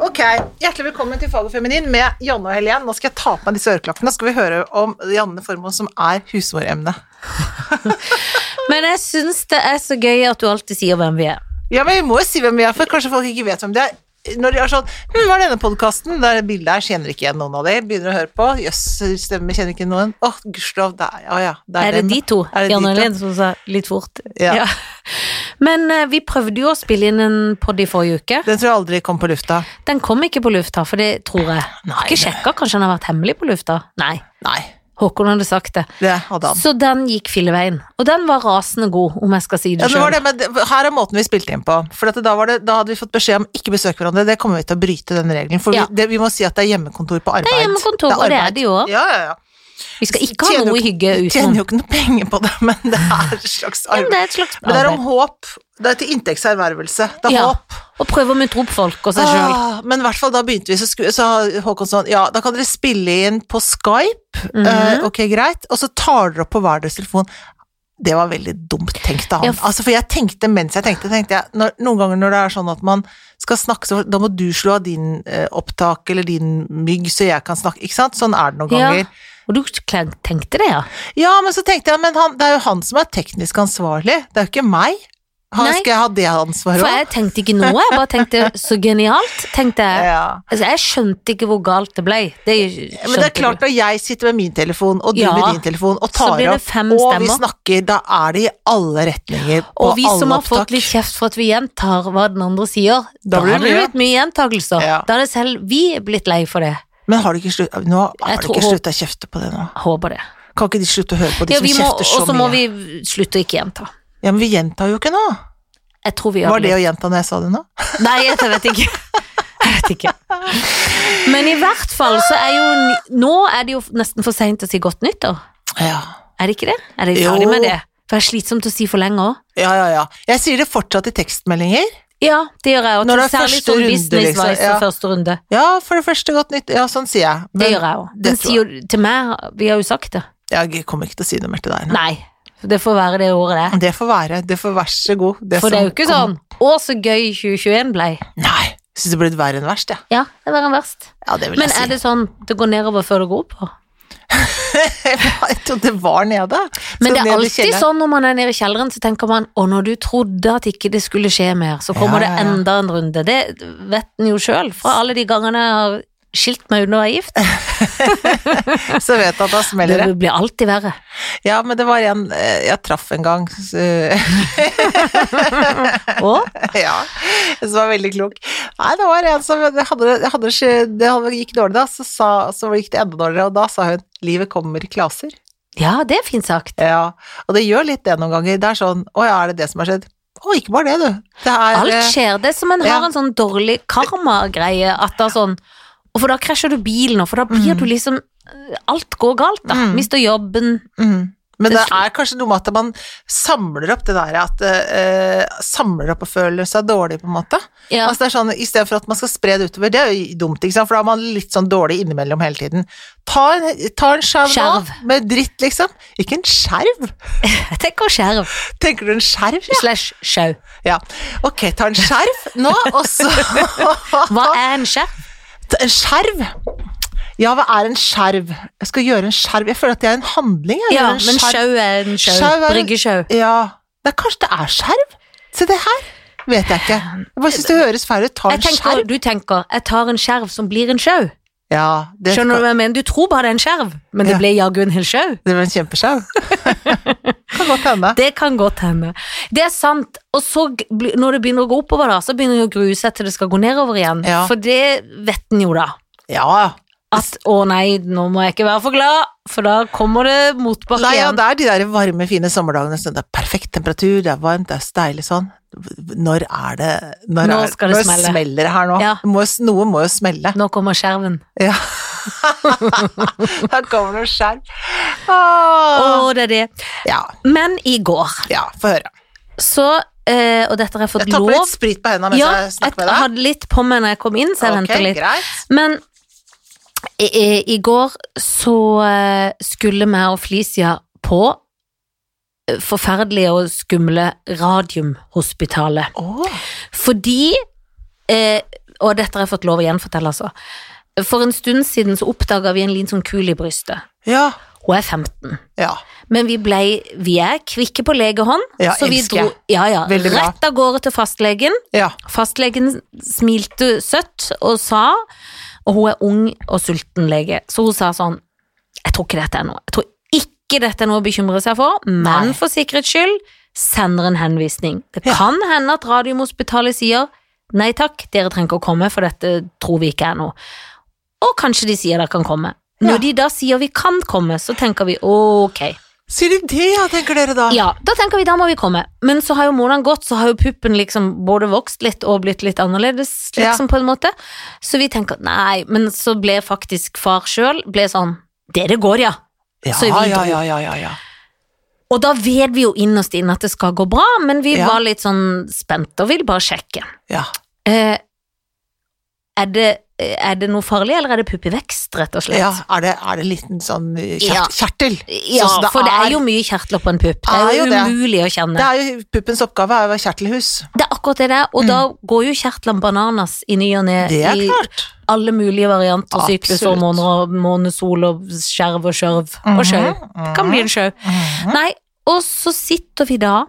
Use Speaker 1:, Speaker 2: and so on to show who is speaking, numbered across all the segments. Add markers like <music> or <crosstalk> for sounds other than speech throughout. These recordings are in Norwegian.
Speaker 1: Ok, Hjertelig velkommen til Fag og Feminin med Janne og Helen. Nå skal jeg ta på meg disse øreklokkene, så skal vi høre om Janne Formoe, som er husmoremne.
Speaker 2: Men jeg syns det er så gøy at du alltid sier hvem vi er.
Speaker 1: Ja, men vi må jo si hvem vi er, for kanskje folk ikke vet hvem det er. Når de er sånn Hm, hva er denne podkasten? Der bildet her kjenner ikke igjen noen av de. Begynner å høre på. Jøss, stemmer, kjenner ikke noen. Å, gudskjelov, det er Å ja, det er,
Speaker 2: Er det
Speaker 1: den.
Speaker 2: de to?
Speaker 1: Er det
Speaker 2: Jan
Speaker 1: de
Speaker 2: og
Speaker 1: to?
Speaker 2: Helen som sa litt fort.
Speaker 1: Ja.
Speaker 2: Men eh, vi prøvde jo å spille inn en pod i forrige uke.
Speaker 1: Den tror jeg aldri kom på lufta.
Speaker 2: Den kom ikke på lufta, for det tror jeg.
Speaker 1: Nei,
Speaker 2: ikke sjekka, kanskje den har vært hemmelig på lufta? Nei.
Speaker 1: Nei,
Speaker 2: Håkon hadde sagt det.
Speaker 1: det hadde han.
Speaker 2: Så den gikk filleveien. Og den var rasende god, om jeg skal si
Speaker 1: Ja,
Speaker 2: det
Speaker 1: det var
Speaker 2: sjøl.
Speaker 1: det, men det- her er måten vi spilte inn på. For at da, var det, da hadde vi fått beskjed om ikke besøke hverandre. Det kommer vi til å bryte, den regelen. For
Speaker 2: Ja.
Speaker 1: vi, det, vi må si at det er hjemmekontor på arbeid.
Speaker 2: Det er hjemmekontor, og det er
Speaker 1: arbeid.
Speaker 2: det jo òg.
Speaker 1: Ja, ja, ja.
Speaker 2: Vi skal ikke ha
Speaker 1: Tjener jo
Speaker 2: noe
Speaker 1: ikke-
Speaker 2: hygge
Speaker 1: Tjener
Speaker 2: utenom.
Speaker 1: jo ikke noe penger på det, men det er et slags
Speaker 2: Men
Speaker 1: arbeid.
Speaker 2: det er et slags
Speaker 1: Men det er om
Speaker 2: arbeid.
Speaker 1: håp. Det er til inntektservervelse. Det er
Speaker 2: Ja,
Speaker 1: håp.
Speaker 2: og prøve å muntre opp folk og seg sjøl.
Speaker 1: Ah, men i hvert fall da begynte vi, så, sku, så Håkon sånn Ja, da kan dere spille inn på Skype.
Speaker 2: Mhm.
Speaker 1: Eh, ok, greit. Og så tar dere opp på hver deres telefon. Det var veldig dumt tenkt av
Speaker 2: Ja,
Speaker 1: han.
Speaker 2: f-
Speaker 1: Altså, for jeg tenkte mens jeg tenkte, tenkte jeg når, Noen ganger når det er sånn at man skal snakke, så da må du slå av din eh, opptak eller din mygg, så jeg kan snakke. Ikke sant? Sånn er det noen
Speaker 2: Ja.
Speaker 1: ganger.
Speaker 2: Og du kl- tenkte det, ja?
Speaker 1: Ja, men så tenkte jeg, men han, det er jo han som er teknisk ansvarlig, det er jo ikke meg. Han,
Speaker 2: Nei.
Speaker 1: skal jeg ha det ansvaret
Speaker 2: For
Speaker 1: òg?
Speaker 2: jeg tenkte ikke noe, jeg bare tenkte så genialt, tenkte jeg.
Speaker 1: Ja.
Speaker 2: Altså, jeg skjønte ikke hvor galt det ble. Det skjønte
Speaker 1: Men det er
Speaker 2: ikke
Speaker 1: klart, når jeg sitter med min telefon, og du
Speaker 2: Ja.
Speaker 1: med din telefon, og
Speaker 2: Så
Speaker 1: tar
Speaker 2: blir det
Speaker 1: opp,
Speaker 2: fem
Speaker 1: og vi
Speaker 2: stemmer.
Speaker 1: snakker, da er det i alle retninger på
Speaker 2: du. Og vi som
Speaker 1: alle
Speaker 2: har fått
Speaker 1: opptak.
Speaker 2: litt kjeft for at vi gjentar hva den andre sier, da,
Speaker 1: Da blir det
Speaker 2: hadde det
Speaker 1: mye.
Speaker 2: blitt mye gjentakelser.
Speaker 1: Ja.
Speaker 2: Da hadde selv vi blitt lei for det.
Speaker 1: Men har du ikke, slutt, nå
Speaker 2: Jeg
Speaker 1: har du
Speaker 2: tror-
Speaker 1: ikke slutta å kjefte på det nå?
Speaker 2: Håper det.
Speaker 1: Kan ikke de slutte å høre på de
Speaker 2: Ja,
Speaker 1: som
Speaker 2: vi må,
Speaker 1: kjefter så
Speaker 2: og så
Speaker 1: mye?
Speaker 2: må vi slutte å ikke gjenta.
Speaker 1: Ja, men vi gjentar jo ikke nå.
Speaker 2: Jeg tror vi gjør
Speaker 1: Var det
Speaker 2: litt.
Speaker 1: å gjenta når jeg sa det nå?
Speaker 2: Nei, jeg vet
Speaker 1: <laughs>
Speaker 2: ikke. Jeg vet ikke. Men i hvert fall så er jo n- Nå er det jo nesten for seint å si godt nyttår.
Speaker 1: Ja.
Speaker 2: Er det ikke det? Er det
Speaker 1: Jo.
Speaker 2: ferdig med det? For det er slitsomt å si for lenge òg.
Speaker 1: Ja, ja, ja. Jeg sier det fortsatt i tekstmeldinger.
Speaker 2: Ja, det gjør jeg òg.
Speaker 1: Når det er
Speaker 2: Særlig
Speaker 1: første
Speaker 2: sånn
Speaker 1: runde,
Speaker 2: business-wise
Speaker 1: liksom, ja.
Speaker 2: og første runde.
Speaker 1: Ja, for det første godt nytt. Ja, sånn sier jeg.
Speaker 2: Det
Speaker 1: Men
Speaker 2: gjør jeg òg.
Speaker 1: det
Speaker 2: Den
Speaker 1: tror
Speaker 2: sier jo til meg Vi har jo sagt det.
Speaker 1: Jeg kommer ikke til å si noe mer til deg. nå.
Speaker 2: Nei. Det får være det året det er.
Speaker 1: Det får være. Det får vær så god.
Speaker 2: For det er
Speaker 1: som
Speaker 2: jo ikke
Speaker 1: kommer-
Speaker 2: sånn Å, så gøy 2021 blei.
Speaker 1: Nei. Syns det blir et verre enn verst, jeg.
Speaker 2: Ja, det var den verst.
Speaker 1: Ja. det vil
Speaker 2: Men
Speaker 1: jeg si.
Speaker 2: er det sånn det går nedover før det går oppover?
Speaker 1: <laughs> jeg trodde det var nede.
Speaker 2: Men
Speaker 1: Så
Speaker 2: det
Speaker 1: ned i
Speaker 2: er alltid
Speaker 1: kjelleren.
Speaker 2: sånn når man er nede i kjelleren, så tenker man å, når du trodde at ikke det skulle skje mer, så kommer
Speaker 1: Ja, ja,
Speaker 2: det
Speaker 1: ja.
Speaker 2: enda en runde. Det vet en jo sjøl, fra alle de gangene jeg har skilt meg under å være gift.
Speaker 1: <laughs> Så vet du at da smeller
Speaker 2: sånn. Det
Speaker 1: det.
Speaker 2: blir alltid <laughs> verre.
Speaker 1: Ja, men det var en eh, jeg traff en gang. Så, <laughs>
Speaker 2: Og
Speaker 1: ja, som var veldig klok. Nei, det var en som det hadde, det hadde, ikke- det hadde, gikk dårlig da, så, sa, så gikk det enda dårligere, og da sa hun 'livet kommer i klaser'.
Speaker 2: ja, det er fint sagt.
Speaker 1: Ja, og det gjør litt det noen ganger. Det er sånn Å ja, er det det som har skjedd? Å, ikke bare det, du. Det er
Speaker 2: Alt
Speaker 1: eh,
Speaker 2: skjer. Det er som en
Speaker 1: ja.
Speaker 2: har en sånn dårlig karma-greie. At det er sånn og For da krasjer du bilen, og for da blir
Speaker 1: Mm.
Speaker 2: du liksom Alt går galt, da.
Speaker 1: Mm.
Speaker 2: Mister jobben. <laughs>
Speaker 1: mm. Men
Speaker 2: det
Speaker 1: det
Speaker 2: sl-
Speaker 1: er kanskje noe med at man samler opp det der at eh, Samler opp og føler seg dårlig, på en måte.
Speaker 2: Ja.
Speaker 1: Altså det er sånn, I stedet for at man skal spre det utover, det er jo dumt, ikke sant? for da er man litt sånn dårlig innimellom hele tiden. Ta en, ta en skjerv nå,
Speaker 2: Skjerv.
Speaker 1: med dritt, liksom. Ikke en skjerv! <laughs>
Speaker 2: Jeg tenker skjerv
Speaker 1: Tenker du en skjerv? Ja.
Speaker 2: slash sjau.
Speaker 1: ja. Ok, ta en
Speaker 2: <laughs>
Speaker 1: skjerv nå, og så <laughs>
Speaker 2: Hva er en skjerv?
Speaker 1: Ta En skjerv? Ja, hva er en skjerv? Jeg skal gjøre en skjerv. Jeg føler at det er en handling. Jeg
Speaker 2: Ja,
Speaker 1: gjør en
Speaker 2: men
Speaker 1: skjerv.
Speaker 2: sjau er en sjau.
Speaker 1: Sjau er en-
Speaker 2: Bryggesjau.
Speaker 1: Ja. Det er, kanskje det er skjerv? Se det her. Vet jeg ikke. Jeg bare syns det høres feil ut. Ta
Speaker 2: Jeg
Speaker 1: en
Speaker 2: tenker,
Speaker 1: skjerv.
Speaker 2: du tenker 'jeg tar en skjerv som blir en sjau'.
Speaker 1: Ja, det,
Speaker 2: Skjønner du hva jeg mener? Du tror bare det er en skjerv, men det
Speaker 1: Ja.
Speaker 2: ble jaggu en hel sjau.
Speaker 1: det var en kjempeskjerv.
Speaker 2: <laughs>
Speaker 1: kan godt hende.
Speaker 2: Det kan godt hende. Det er sant. Og så, g- bli- når det begynner å gå oppover, da, så begynner det å grue seg til det skal gå nedover igjen.
Speaker 1: Ja.
Speaker 2: For det vet en jo, da.
Speaker 1: Ja.
Speaker 2: At 'å nei, nå må jeg ikke være for glad', for da kommer det motbakke
Speaker 1: Nei, ja,
Speaker 2: Altså, igjen.
Speaker 1: det er de der varme, fine sommerdagene. Sånn, det er perfekt temperatur, det er varmt, det er så deilig sånn. Når er det Når,
Speaker 2: Nå
Speaker 1: er,
Speaker 2: skal det
Speaker 1: når
Speaker 2: smelle.
Speaker 1: smeller det her nå?
Speaker 2: Ja.
Speaker 1: Det Må, noe må jo smelle.
Speaker 2: Nå kommer skjerven. <laughs>
Speaker 1: Ja. da kommer det skjerm. Åh. Ah.
Speaker 2: Å, det er det.
Speaker 1: Ja,
Speaker 2: Men i går,
Speaker 1: ja, få høre.
Speaker 2: så eh, Og dette har jeg fått
Speaker 1: Jeg tar på
Speaker 2: lov
Speaker 1: litt sprit på hendene mens
Speaker 2: Ja,
Speaker 1: jeg
Speaker 2: jeg
Speaker 1: snakker med deg.
Speaker 2: hadde litt på meg når jeg kom inn, så jeg
Speaker 1: Ok,
Speaker 2: venter litt.
Speaker 1: greit.
Speaker 2: Men i, i, i går så eh, skulle meg og Felicia på eh, forferdelige og skumle Radiumhospitalet.
Speaker 1: Åh,
Speaker 2: Fordi eh, Og dette har jeg fått lov å gjenfortelle, altså. For en stund siden så oppdaga vi en liten sånn kul i brystet.
Speaker 1: Ja.
Speaker 2: Hun er 15.
Speaker 1: ja.
Speaker 2: Men vi ble, vi er kvikke på legehånd,
Speaker 1: Ja,
Speaker 2: så vi
Speaker 1: elsker
Speaker 2: dro ja, ja,
Speaker 1: Veldig bra.
Speaker 2: rett av gårde til fastlegen.
Speaker 1: ja.
Speaker 2: Fastlegen smilte søtt og sa, og hun er ung og sulten lege, så hun sa sånn, jeg tror ikke dette er noe, jeg tror ikke dette er noe å bekymre seg for, men
Speaker 1: Nei.
Speaker 2: for sikkerhets skyld, sender en henvisning. Det
Speaker 1: Ja.
Speaker 2: kan hende at Radiumhospitalet sier, nei takk, dere trenger ikke å komme, for dette tror vi ikke er noe. Og kanskje de sier dere kan komme. Når
Speaker 1: Ja.
Speaker 2: de da sier vi kan komme, så tenker vi, ok,
Speaker 1: Sier de det, ja, tenker dere da?
Speaker 2: ja, da tenker vi da må vi komme. Men så har jo måneden gått, så har jo puppen liksom både vokst litt og blitt litt annerledes, liksom på en måte. Så vi tenker nei, men så ble faktisk far sjøl ble sånn Dere går, ja.
Speaker 1: ja,
Speaker 2: så vi
Speaker 1: ja,
Speaker 2: dro.
Speaker 1: ja, ja, ja, ja.
Speaker 2: Og da vet vi jo innerst inne at det skal gå bra, men vi
Speaker 1: Ja.
Speaker 2: var litt sånn spente og ville bare sjekke.
Speaker 1: ja.
Speaker 2: Eh, er, det, eh, er det noe farlig, eller er det puppevekst, rett og slett?
Speaker 1: ja. Er, det, er det en liten sånn eh, kjert,
Speaker 2: Ja.
Speaker 1: kjertel?
Speaker 2: Ja,
Speaker 1: Sånn som det
Speaker 2: for det er
Speaker 1: er-
Speaker 2: jo mye kjertler på en pupp. Det
Speaker 1: Er
Speaker 2: er
Speaker 1: jo
Speaker 2: jo
Speaker 1: det.
Speaker 2: umulig å kjenne.
Speaker 1: Det er jo puppens oppgave er å være kjertelhus.
Speaker 2: Det er akkurat det det er, og
Speaker 1: Mm.
Speaker 2: da går jo kjertlene bananas i ny og ne
Speaker 1: Det er
Speaker 2: i
Speaker 1: klart.
Speaker 2: alle mulige varianter,
Speaker 1: Absolutt.
Speaker 2: syklushormoner og månesol og skjerv og skjørv
Speaker 1: Mhm,
Speaker 2: og sjau. Det kan bli en sjau. Nei, og så sitter vi da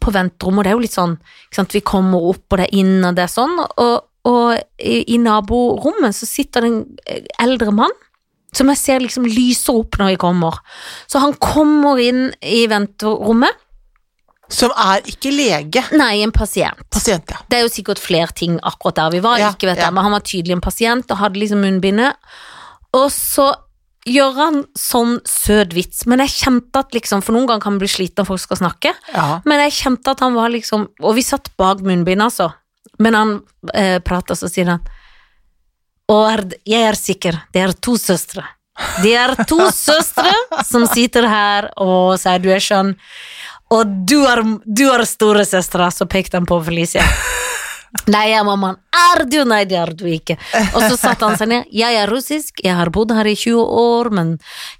Speaker 2: på venterommet, og det er jo litt sånn, ikke sant, vi kommer opp, og det er inn, og det er sånn, og, og i, i naborommet så sitter det en eh, eldre mann, som jeg ser liksom lyser opp når jeg kommer. Så han kommer inn i venterommet,
Speaker 1: Som er ikke lege.
Speaker 2: nei, en pasient.
Speaker 1: Pasient, ja.
Speaker 2: Det er jo sikkert flere ting akkurat der vi var,
Speaker 1: Ja,
Speaker 2: ikke vet
Speaker 1: ja.
Speaker 2: jeg, men han var tydelig en pasient og hadde liksom munnbindet. Og så gjør han sånn søt vits, men jeg kjente at liksom, for noen ganger kan man bli sliten når folk skal snakke,
Speaker 1: ja.
Speaker 2: men jeg kjente at han var liksom, og vi satt bak munnbindet altså, men han eh, pratet så sier han, og er, jeg er sikker, det er to søstre. Det er to søstre som sitter her og sier du er skjønn, og du er, du er store søstre, så pekte han på Felicia. Nei, jeg er mammaen. Er du? Nei, det er du ikke. Og så satte han seg ned. Jeg er russisk, jeg har bodd her i 20 år, men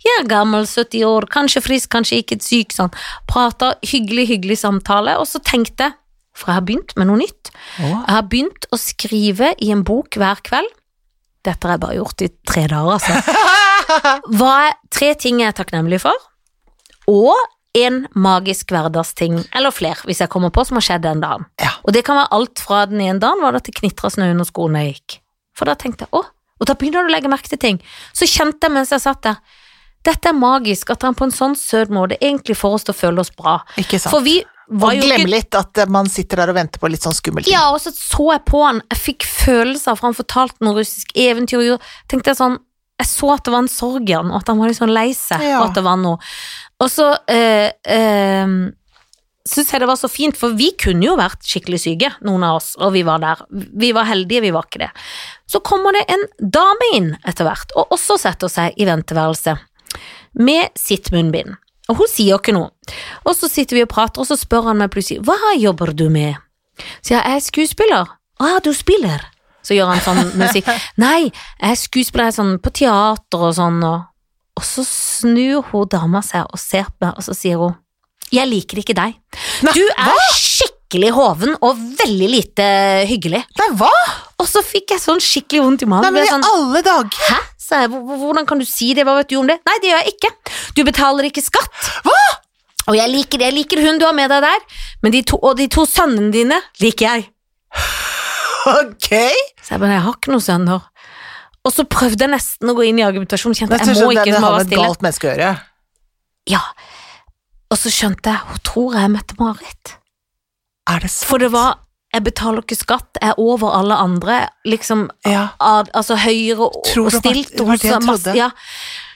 Speaker 2: jeg er gammel, 70 år, kanskje frisk, kanskje ikke syk. Sånn. Prata hyggelig, hyggelig samtale, og så tenkte jeg, for jeg har begynt med noe nytt.
Speaker 1: Å.
Speaker 2: Jeg har begynt å skrive i en bok hver kveld. Dette har jeg bare gjort i tre dager, altså. Hva er tre ting jeg er takknemlig for, og en magisk hverdagsting, eller flere, hvis jeg kommer på, som har skjedd den dagen.
Speaker 1: Ja.
Speaker 2: Og det kan være alt fra den ene dagen var det at det knitra snø under skoene jeg gikk. For da tenkte jeg, å, og da begynner du å legge merke til ting. Så kjente jeg mens jeg satt der, dette er magisk, at han på en sånn søt måte egentlig får oss til å føle oss bra.
Speaker 1: Ikke sant.
Speaker 2: For vi var
Speaker 1: Og
Speaker 2: jo ikke
Speaker 1: glemme litt at eh, man sitter der og venter på litt sånn skummelt.
Speaker 2: ja, og så så jeg på han. Jeg fikk følelser, for han fortalte noe russisk eventyr. og tenkte jeg sånn Jeg så at det var en sorg i han, og at han var litt sånn lei seg,
Speaker 1: Ja.
Speaker 2: og at det var noe. Og så eh, eh, syns jeg det var så fint, for vi kunne jo vært skikkelig syke, noen av oss, og vi var der. Vi var heldige, vi var ikke det. Så kommer det en dame inn etter hvert, og også setter seg i venteværelset med sitt munnbind. Og hun sier ikke noe. Og så sitter vi og prater, og så spør han meg plutselig hva jobber du med? Så jeg jeg er skuespiller. Å, du spiller? Så gjør han sånn musikk. Nei, jeg er skuespiller jeg er sånn på teater og sånn. Og, og så snur hun dama seg og ser på meg, og så sier hun Jeg liker ikke deg.
Speaker 1: Nei,
Speaker 2: Du er skikkelig hoven og veldig lite hyggelig.
Speaker 1: Nei, hva?
Speaker 2: Og så fikk jeg sånn skikkelig vondt i
Speaker 1: Nei,
Speaker 2: magen.
Speaker 1: men
Speaker 2: Jeg
Speaker 1: i
Speaker 2: sånn,
Speaker 1: alle dager!
Speaker 2: Hæ? sa jeg. "Hvor- Hvordan kan du si det? Hva vet du om det? Nei, det gjør jeg ikke. Du betaler ikke skatt. Hva? Og jeg liker, jeg liker hun du har med deg der, men de to, og de to sønnene dine liker jeg.
Speaker 1: <laughs> Ok!
Speaker 2: Så jeg bare, jeg har ikke noen sønner. Og så prøvde jeg nesten å gå inn i argumentasjonen, kjente
Speaker 1: Det er
Speaker 2: jeg, jeg må
Speaker 1: sånn det
Speaker 2: ikke
Speaker 1: har
Speaker 2: være
Speaker 1: med et
Speaker 2: stille.
Speaker 1: galt menneske å gjøre.
Speaker 2: Ja. Og så skjønte jeg, hun tror jeg er Mette-Marit.
Speaker 1: Er det sant?
Speaker 2: For det var, jeg betaler ikke skatt, jeg er over alle andre, liksom,
Speaker 1: Ja.
Speaker 2: ad, altså høyere og,
Speaker 1: Tror
Speaker 2: og
Speaker 1: det var-
Speaker 2: stilt.
Speaker 1: det var det jeg
Speaker 2: og så masse-
Speaker 1: trodde.
Speaker 2: Ja,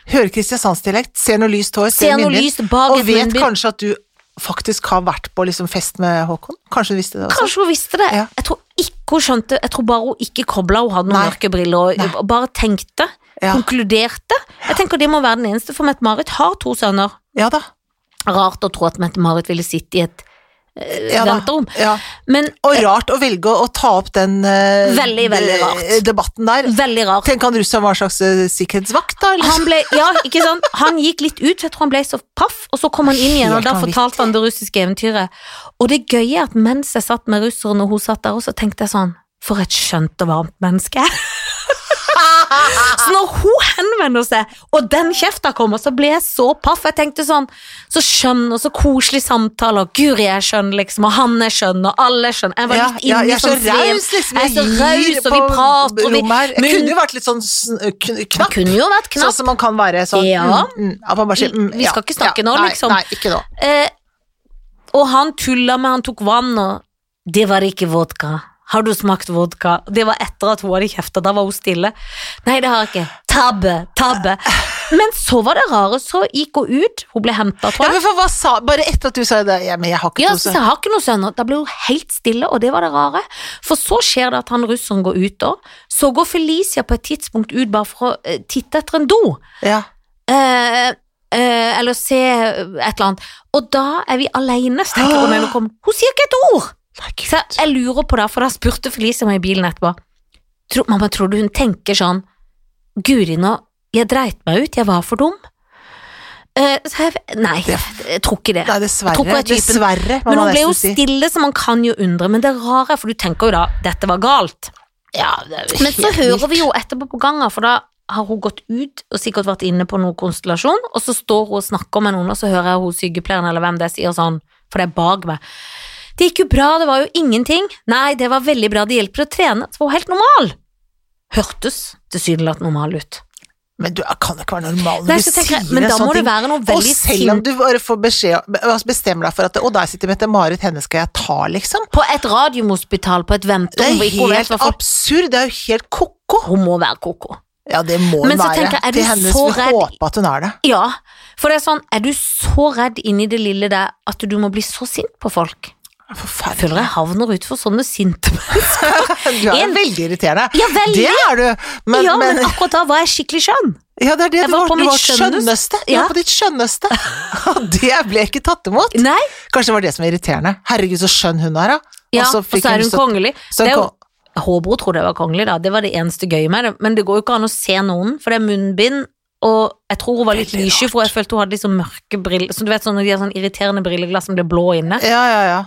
Speaker 1: Hører kristiansandsdialekt, ser noe lyst hår, ser,
Speaker 2: ser noe
Speaker 1: minner,
Speaker 2: lys bak
Speaker 1: og
Speaker 2: et
Speaker 1: vet
Speaker 2: munnbind.
Speaker 1: kanskje at du faktisk har vært på liksom fest med Håkon? Kanskje du visste det også?
Speaker 2: Kanskje hun visste det.
Speaker 1: Ja.
Speaker 2: Jeg tror ikke hun skjønte, jeg tror bare hun ikke kobla, hun hadde noen
Speaker 1: Nei.
Speaker 2: mørke briller, og, og bare tenkte,
Speaker 1: Ja.
Speaker 2: konkluderte. Jeg tenker det må være den eneste, for Mette-Marit har to sønner.
Speaker 1: Ja da.
Speaker 2: rart å tro at Mette-Marit ville sitte i et eh,
Speaker 1: Ja, da.
Speaker 2: venterom.
Speaker 1: Ja.
Speaker 2: Men
Speaker 1: Og rart å velge å, å ta opp den eh,
Speaker 2: Veldig, veldig
Speaker 1: de-
Speaker 2: rart.
Speaker 1: debatten der.
Speaker 2: veldig rart.
Speaker 1: Tenk han russeren var en slags eh, sikkerhetsvakt, da? Eller?
Speaker 2: Han ble, ja, ikke sant? Han gikk litt ut, for jeg tror han ble så paff, og så kom han inn igjen, og
Speaker 1: Helt
Speaker 2: da
Speaker 1: vanvittig.
Speaker 2: fortalte han det russiske eventyret. Og det gøye er at mens jeg satt med russeren, og hun satt der også, tenkte jeg sånn, For et skjønt og varmt menneske. <laughs> Så når hun henvender seg, og den kjefta kommer, så ble jeg så paff. Jeg tenkte sånn, så skjønn og så koselig samtale, og Guri er skjønn, liksom, og han er skjønn, og alle er skjønn. Jeg var
Speaker 1: Ja, ja,
Speaker 2: litt inne
Speaker 1: jeg
Speaker 2: i
Speaker 1: er så
Speaker 2: sånn svev.
Speaker 1: raus, liksom.
Speaker 2: Jeg er så
Speaker 1: gir
Speaker 2: raus, og vi
Speaker 1: på
Speaker 2: prater, og vi-
Speaker 1: rommet her. Jeg
Speaker 2: men-
Speaker 1: kunne jo vært litt sånn sn- kn-
Speaker 2: Det
Speaker 1: knapp.
Speaker 2: kunne jo vært
Speaker 1: Sånn
Speaker 2: knapt.
Speaker 1: som man kan være sånn
Speaker 2: Ja.
Speaker 1: mm, mm, at man bare sier, mm,
Speaker 2: Vi skal ikke snakke nå,
Speaker 1: nei,
Speaker 2: liksom.
Speaker 1: Nei, ikke nå.
Speaker 2: Eh, og han tulla med, han tok vann, og Det var ikke vodka. Har du smakt vodka? Det var etter at hun hadde kjefta, da var hun stille. Nei, det har jeg ikke. Tabbe, tabbe. Men så var det rare, så gikk hun ut, hun ble henta, tror jeg.
Speaker 1: Ja, men for hva sa Bare etter at du sa det, ja, men jeg har ikke
Speaker 2: Ja,
Speaker 1: to
Speaker 2: så
Speaker 1: sønner.
Speaker 2: jeg har ikke noen sønner. Da ble hun helt stille, og det var det rare. For så skjer det at han russeren går ut da. Så går Felicia på et tidspunkt ut bare for å eh, titte etter en do.
Speaker 1: Ja.
Speaker 2: Eh, eh, eller se et eller annet. Og da er vi alene, så tenker hun når hun kommer. Hun sier ikke et ord! Så jeg, jeg lurer på det, for da spurte Felicia meg i bilen etterpå. Tro, mamma, tror du hun tenker sånn Guri, nå Jeg dreit meg ut, jeg var for dum. Eh, så jeg, nei, jeg tror ikke det.
Speaker 1: Nei,
Speaker 2: Jeg tror
Speaker 1: dessverre.
Speaker 2: ikke jeg er typen.
Speaker 1: Dessverre, må
Speaker 2: Men
Speaker 1: man
Speaker 2: hun ble jo
Speaker 1: nesten si.
Speaker 2: stille, så man kan jo undre. Men det rare er, for du tenker jo da dette var galt.
Speaker 1: Ja, det er jo
Speaker 2: Men så
Speaker 1: helt
Speaker 2: hører
Speaker 1: vilt.
Speaker 2: vi jo etterpå på gangen, for da har hun gått ut og sikkert vært inne på noen konstellasjon, og så står hun og snakker med noen, og så hører jeg hun sykepleieren eller hvem det er, sier sånn, for det er bak meg. Det gikk jo bra, det var jo ingenting. Nei, det var veldig bra, det hjelper å trene. Så var hun helt normal. Hørtes tilsynelatende normal ut.
Speaker 1: Men du kan jo ikke være normal
Speaker 2: Nei,
Speaker 1: når du
Speaker 2: så
Speaker 1: sier
Speaker 2: tenker jeg, men
Speaker 1: en
Speaker 2: da
Speaker 1: sånn
Speaker 2: må det
Speaker 1: ting.
Speaker 2: være noe
Speaker 1: Og
Speaker 2: veldig
Speaker 1: selv om
Speaker 2: sint.
Speaker 1: du bare får beskjed altså bestemmer deg for at Og der sitter Mette-Marit, henne skal jeg ta, liksom.
Speaker 2: På et radiumhospital, på et
Speaker 1: Det
Speaker 2: ventom,
Speaker 1: er
Speaker 2: hvor ikke hun vet
Speaker 1: helt
Speaker 2: hva folk
Speaker 1: absurd, det er jo helt ko-ko.
Speaker 2: Hun må være koko.
Speaker 1: Ja, det må hun
Speaker 2: Men så
Speaker 1: være.
Speaker 2: tenker jeg,
Speaker 1: Til
Speaker 2: er du
Speaker 1: hennes
Speaker 2: så
Speaker 1: vi
Speaker 2: redd-
Speaker 1: håper at hun er det.
Speaker 2: Ja, for det er sånn, er du så redd inni det lille der at du må bli så sint på folk? Jeg
Speaker 1: Forferdelig.
Speaker 2: føler jeg havner utfor sånne sinte mennesker.
Speaker 1: Du er
Speaker 2: En-
Speaker 1: veldig irriterende.
Speaker 2: Ja, veldig.
Speaker 1: Det er du. Men,
Speaker 2: ja, men
Speaker 1: men
Speaker 2: akkurat da var jeg skikkelig skjønn.
Speaker 1: Ja, det er det.
Speaker 2: Jeg
Speaker 1: Du
Speaker 2: var
Speaker 1: var,
Speaker 2: på
Speaker 1: du
Speaker 2: mitt
Speaker 1: var skjønneste. Du
Speaker 2: Ja.
Speaker 1: var på ditt skjønneste. <laughs> Og det ble ikke tatt imot.
Speaker 2: Nei,
Speaker 1: Kanskje det var det som var irriterende. Herregud, så skjønn hun er, da.
Speaker 2: ja,
Speaker 1: så
Speaker 2: og så
Speaker 1: fikk hun
Speaker 2: er hun
Speaker 1: så-
Speaker 2: kongelig.
Speaker 1: så
Speaker 2: Det er jo,
Speaker 1: kom-
Speaker 2: Håbro trodde jeg var kongelig, da. Det var det eneste gøye med det. Men det går jo ikke an å se noen, for det er munnbind. Og jeg tror hun var litt
Speaker 1: Veldig
Speaker 2: lyssky, for jeg følte hun hadde liksom mørke briller. Så du vet sånn når de har sånn irriterende brilleglass som blir blå inne.
Speaker 1: Ja, ja, ja.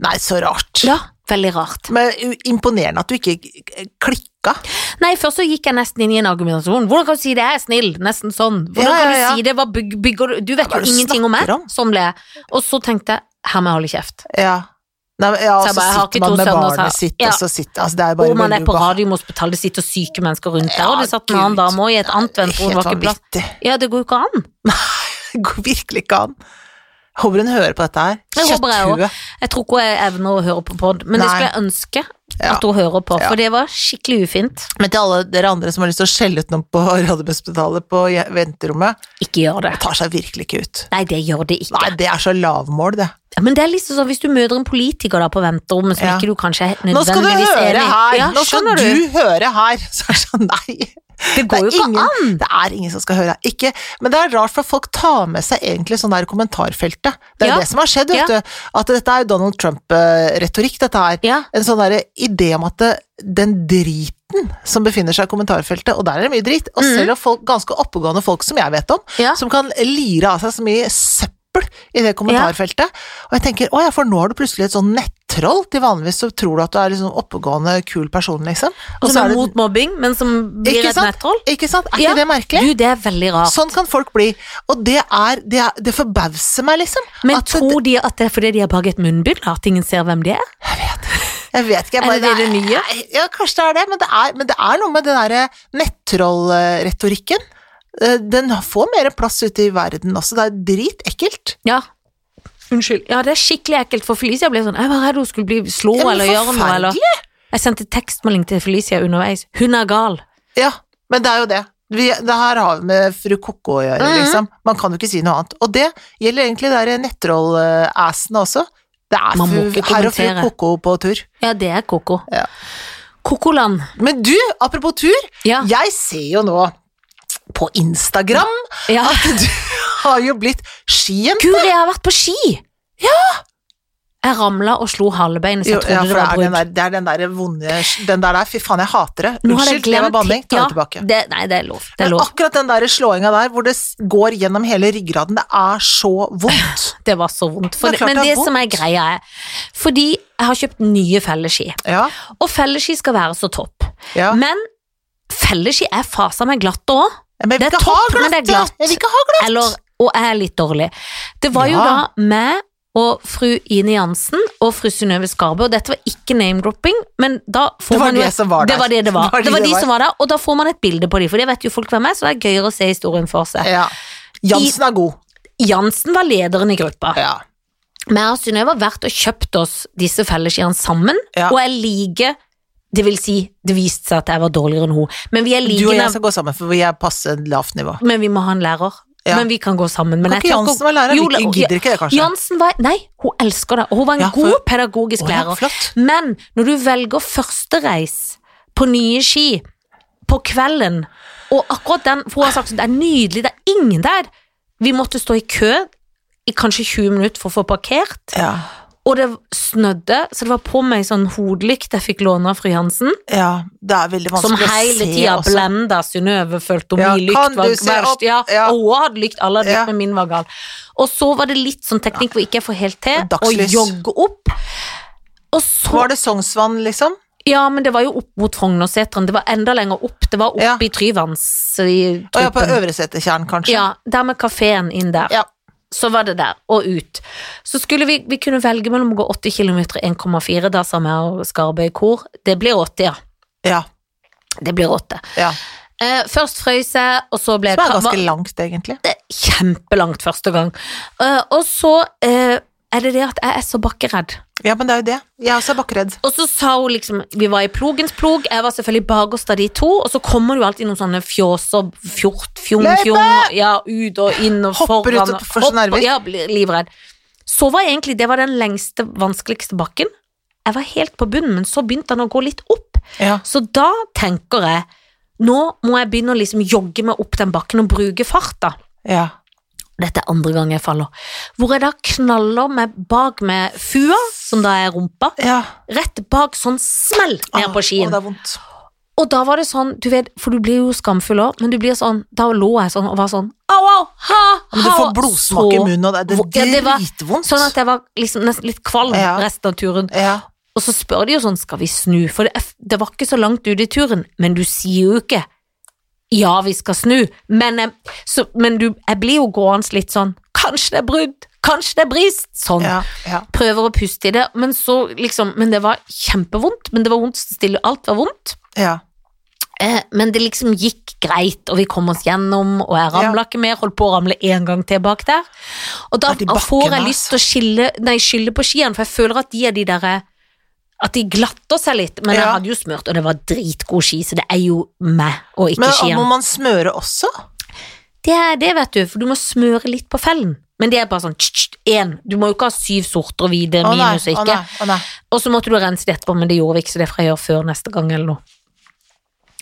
Speaker 1: Nei, så rart.
Speaker 2: Ja, veldig rart.
Speaker 1: Men u- imponerende at du ikke k- klikka.
Speaker 2: Nei, først så gikk jeg nesten inn i en argumentasjon. Hvordan kan du si det er snill? Nesten sånn. Hvordan
Speaker 1: Ja, ja, ja.
Speaker 2: kan du si det? Hva byg, bygger du Du vet
Speaker 1: Hva er
Speaker 2: jo
Speaker 1: det du
Speaker 2: ingenting om meg.
Speaker 1: snakker om?
Speaker 2: Sånn ble jeg. Og så tenkte jeg her må jeg holde kjeft.
Speaker 1: Ja. Nei, men- ja,
Speaker 2: Så
Speaker 1: og så
Speaker 2: jeg bare, jeg har
Speaker 1: sitter
Speaker 2: ikke to
Speaker 1: man med
Speaker 2: sønner, så
Speaker 1: barnet
Speaker 2: jeg-
Speaker 1: sitt,
Speaker 2: Ja.
Speaker 1: og så sitter altså, Det er jo bare
Speaker 2: Og man er
Speaker 1: veldig
Speaker 2: på
Speaker 1: ubehag-
Speaker 2: Radiumhospitalet, det sitter syke mennesker rundt der,
Speaker 1: Ja,
Speaker 2: og det satt en
Speaker 1: Gud.
Speaker 2: annen dame òg i et annet venterom, det
Speaker 1: Helt
Speaker 2: var ikke plass.
Speaker 1: vanvittig. <laughs>
Speaker 2: Ja, det går jo ikke an.
Speaker 1: Det går virkelig ikke an. Håper hun hører på dette her.
Speaker 2: Jeg håper jeg
Speaker 1: Kjøtthue.
Speaker 2: Jeg tror ikke jeg evner å høre på pod, men det
Speaker 1: Nei.
Speaker 2: skulle jeg ønske
Speaker 1: Ja.
Speaker 2: at hun hører på,
Speaker 1: Ja.
Speaker 2: for det var skikkelig ufint.
Speaker 1: Men til alle dere andre som har lyst til å skjelle ut noen på <laughs> Radiumhospitalet på je- venterommet,
Speaker 2: Ikke gjør det.
Speaker 1: tar seg virkelig ikke ut.
Speaker 2: Nei, det gjør det ikke.
Speaker 1: Nei, det er så lavmål, det.
Speaker 2: Ja, Men det er liksom sånn hvis du møter en politiker da på venterommet som
Speaker 1: Ja.
Speaker 2: ikke du kanskje er
Speaker 1: Nå skal du
Speaker 2: nødvendigvis
Speaker 1: høre
Speaker 2: enig i.
Speaker 1: her!
Speaker 2: Ja,
Speaker 1: Nå skal
Speaker 2: skjønner
Speaker 1: du høre her! <laughs> Så er det sånn, nei.
Speaker 2: Det går jo
Speaker 1: Det er
Speaker 2: ikke
Speaker 1: ingen,
Speaker 2: an.
Speaker 1: Det er ingen som skal høre her. Ikke, men det er rart, for folk tar med seg egentlig sånn der i kommentarfeltet. Det er
Speaker 2: Ja.
Speaker 1: det som har skjedd, vet
Speaker 2: Ja.
Speaker 1: du. At dette er jo Donald Trump-retorikk, dette her.
Speaker 2: Ja.
Speaker 1: En sånn der idé om at det, den driten som befinner seg i kommentarfeltet, og der er det mye drit, og selv om folk, ganske oppegående folk som jeg vet om,
Speaker 2: Mm. Ja.
Speaker 1: som kan lire av seg så mye søppel i det kommentarfeltet, og jeg tenker å ja, for nå er du plutselig et sånn nettroll til vanligvis så tror du at du er liksom oppegående, kul person, liksom.
Speaker 2: Og som
Speaker 1: er du-
Speaker 2: er Altså, mot mobbing, men som blir
Speaker 1: Ikke
Speaker 2: et
Speaker 1: sant?
Speaker 2: nettroll.
Speaker 1: Ikke sant? Er
Speaker 2: Ja.
Speaker 1: ikke det merkelig?
Speaker 2: Du, det er veldig rart.
Speaker 1: Sånn kan folk bli, og det er Det, er, det forbauser meg, liksom.
Speaker 2: Men
Speaker 1: at
Speaker 2: tror de at det er fordi de har bak et munnbind, at ingen ser hvem de er?
Speaker 1: Jeg vet ikke. Jeg bare,
Speaker 2: Er det det nye?
Speaker 1: er- Ja, kanskje det er det, men det er, men det er noe med den derre nettrollretorikken. Eh, Den får mer plass ute i verden også, det er dritekkelt.
Speaker 2: Ja. Unnskyld. Ja, det er skikkelig ekkelt, for Felicia ble sånn Jeg var redd hun skulle bli slå
Speaker 1: Ja, men
Speaker 2: eller gjøre noe, eller
Speaker 1: forferdelig.
Speaker 2: Jeg sendte tekstmelding til Felicia underveis. Hun er gal.
Speaker 1: Ja, men det er jo det. Vi, det her har vi med fru Koko å gjøre,
Speaker 2: Mhm.
Speaker 1: liksom. Man kan jo ikke si noe annet. Og det gjelder egentlig de der nettroll-assene også. Det er
Speaker 2: Man må
Speaker 1: fru,
Speaker 2: ikke
Speaker 1: her og fru
Speaker 2: kommentere.
Speaker 1: Koko på tur.
Speaker 2: Ja, det er koko.
Speaker 1: Ja.
Speaker 2: Kokoland.
Speaker 1: Men du, apropos tur,
Speaker 2: Ja.
Speaker 1: jeg ser jo nå på Instagram <laughs>
Speaker 2: ja.
Speaker 1: at du har jo blitt skien.
Speaker 2: Guri, jeg har vært på ski! Ja! Jeg ramla og slo halebeinet,
Speaker 1: Jo,
Speaker 2: så jeg
Speaker 1: ja,
Speaker 2: trodde
Speaker 1: for
Speaker 2: det
Speaker 1: det er
Speaker 2: var
Speaker 1: den der,
Speaker 2: brudd.
Speaker 1: det er den der vonde Den der der, fy faen, jeg hater det.
Speaker 2: Nå har jeg
Speaker 1: Unnskyld, det var
Speaker 2: glemt-
Speaker 1: banning. Ta
Speaker 2: ja,
Speaker 1: det tilbake.
Speaker 2: Det, nei, det er lov. Det er
Speaker 1: Men
Speaker 2: lov.
Speaker 1: akkurat den der slåinga der hvor det s- går gjennom hele ryggraden, det er så vondt.
Speaker 2: Det var så vondt. For,
Speaker 1: Det er klart
Speaker 2: men
Speaker 1: det
Speaker 2: det,
Speaker 1: er
Speaker 2: som er greia, er Fordi jeg har kjøpt nye felleski,
Speaker 1: Ja,
Speaker 2: og felleski skal være så topp.
Speaker 1: ja.
Speaker 2: Men felleski er fasa meg glatt òg.
Speaker 1: Men jeg vil
Speaker 2: det er
Speaker 1: ikke ha
Speaker 2: topp, men det er
Speaker 1: glatt! jeg. Jeg vil ikke ha glatt!
Speaker 2: Eller Og jeg er litt dårlig. Det var jo
Speaker 1: Ja.
Speaker 2: da meg og fru Ine Jansen og fru Synnøve Skarbø, og dette var ikke name-dropping, men da får
Speaker 1: Det var
Speaker 2: man jo
Speaker 1: det som var
Speaker 2: Det
Speaker 1: der.
Speaker 2: var det det var. Det var de som
Speaker 1: <laughs> var.
Speaker 2: var der, og da får man et bilde på dem, for det vet jo folk hvem er, så det er gøyere å se historien for seg.
Speaker 1: Ja. Jansen er god.
Speaker 2: Jansen var lederen i gruppa.
Speaker 1: Ja.
Speaker 2: Jeg og Synnøve har vært og kjøpt oss disse fellesskiene sammen,
Speaker 1: Ja.
Speaker 2: og jeg liker det vil si, det viste seg at jeg var dårligere enn hun, men vi er
Speaker 1: Du og jeg
Speaker 2: like nav-
Speaker 1: skal gå sammen, for vi er passe lavt nivå.
Speaker 2: men vi må ha en lærer.
Speaker 1: Ja.
Speaker 2: Men vi kan gå sammen. Men
Speaker 1: Kan
Speaker 2: jeg
Speaker 1: ikke
Speaker 2: tør ikke å-
Speaker 1: Jansen være lærer?
Speaker 2: Jo,
Speaker 1: Vi
Speaker 2: la-
Speaker 1: gidder ikke det, kanskje?
Speaker 2: Jansen var Nei, hun elsker det. og Hun var en
Speaker 1: Ja, for-
Speaker 2: god pedagogisk
Speaker 1: Å, ja,
Speaker 2: lærer.
Speaker 1: flott.
Speaker 2: Men når du velger førstereis på nye ski på kvelden, og akkurat den For hun har sagt at det er nydelig, det er ingen der. Vi måtte stå i kø i kanskje 20 minutter for å få parkert,
Speaker 1: Ja.
Speaker 2: og det snødde, så det var på meg sånn hodelykt jeg fikk låne av fru Jansen,
Speaker 1: ja. Det er veldig
Speaker 2: som
Speaker 1: vanskelig å se
Speaker 2: hele tida
Speaker 1: også.
Speaker 2: blenda Synnøve følte om
Speaker 1: Ja,
Speaker 2: min
Speaker 1: kan
Speaker 2: lykt var
Speaker 1: du se opp?
Speaker 2: verst. Ja,
Speaker 1: Ja.
Speaker 2: Og hun hadde lykt, alle hadde lykt,
Speaker 1: Ja.
Speaker 2: men min var gal. Og så var det litt sånn teknikk hvor ikke jeg får helt til,
Speaker 1: Dagslys.
Speaker 2: å jogge opp. Og så
Speaker 1: Var det Sognsvann, liksom?
Speaker 2: Ja, men det var jo opp mot Frognerseteren. Det var enda lenger opp. Det var oppe
Speaker 1: Ja.
Speaker 2: i Tryvanns eh,
Speaker 1: Å ja, på
Speaker 2: i
Speaker 1: Øvresetertjern, kanskje?
Speaker 2: Ja, der med kafeen inn der.
Speaker 1: Ja.
Speaker 2: Så var det der, og ut. Så skulle vi, vi kunne velge mellom å gå 80 km og 1,4, da sa jeg og Skarbe i kor. Det blir 80, ja.
Speaker 1: ja.
Speaker 2: Det blir 80.
Speaker 1: ja.
Speaker 2: Eh, først frøys jeg, og så ble
Speaker 1: Som er
Speaker 2: var-
Speaker 1: ganske langt, egentlig.
Speaker 2: kjempelangt første gang. Eh, og så eh, er det det at jeg er så bakkeredd.
Speaker 1: Ja, men det er jo det. Jeg er også bakkeredd.
Speaker 2: Og så sa hun liksom Vi var i Plogens plog, jeg var selvfølgelig bakerst av de to, og så kommer det jo alltid noen sånne fjåser, fjort, fjong,
Speaker 1: Løype!
Speaker 2: fjong, ja, ut og inn og
Speaker 1: Hopper ut
Speaker 2: foran.
Speaker 1: og får så
Speaker 2: hopper-
Speaker 1: nerver.
Speaker 2: Ja, blir livredd. Så var egentlig Det var den lengste, vanskeligste bakken. Jeg var helt på bunnen, men så begynte han å gå litt opp.
Speaker 1: Ja.
Speaker 2: Så da tenker jeg Nå må jeg begynne å liksom jogge meg opp den bakken og bruke farta.
Speaker 1: ja.
Speaker 2: Dette er andre gang jeg faller. Hvor jeg da knaller meg bak med fua, som da er rumpa,
Speaker 1: ja. Ah,
Speaker 2: rett bak sånn smell ned på
Speaker 1: Å,
Speaker 2: skien.
Speaker 1: det er vondt.
Speaker 2: Og da var det sånn, du vet, for du blir jo skamfull òg, men du blir sånn Da lå jeg sånn og var sånn au, au, ha, ha.
Speaker 1: Men du får blodsmak i
Speaker 2: så-
Speaker 1: munnen, og det er
Speaker 2: hvor- ja, det var
Speaker 1: dritvondt.
Speaker 2: Sånn at jeg var liksom nesten litt kvalm
Speaker 1: Ja.
Speaker 2: resten av turen.
Speaker 1: Ja.
Speaker 2: Og så spør de jo sånn, skal vi snu? For det, er f- det var ikke så langt ut i turen, men du sier jo ikke ja, vi skal snu, men, jeg, så, men du, jeg blir jo gående litt sånn, kanskje det er brudd, kanskje det er brist, sånn.
Speaker 1: Ja. ja.
Speaker 2: Prøver å puste i det, men så liksom, men det var kjempevondt, men det var vondt stille, alt var vondt.
Speaker 1: ja.
Speaker 2: Eh, men det liksom gikk greit, og vi kom oss gjennom, og jeg ramla ikke mer, holdt på å ramle en gang til bak der. Og da
Speaker 1: Ja, de bakkene,
Speaker 2: får jeg
Speaker 1: altså.
Speaker 2: lyst til å skille, nei, skylde på skiene, for jeg føler at de er de derre at de glatter seg litt, men jeg
Speaker 1: Ja.
Speaker 2: hadde jo smurt, og det var dritgod ski, så det er jo meg, og ikke
Speaker 1: Men
Speaker 2: skien.
Speaker 1: må man smøre også?
Speaker 2: Det er det, vet du, for du må smøre litt på fellen. Men det er bare sånn én. Du må jo ikke ha syv sorter og hvite
Speaker 1: Å, nei,
Speaker 2: minus og
Speaker 1: å,
Speaker 2: ikke.
Speaker 1: nei, å, nei.
Speaker 2: Og så måtte du rense det etterpå, men det gjorde vi ikke, så det får jeg gjøre før neste gang eller noe.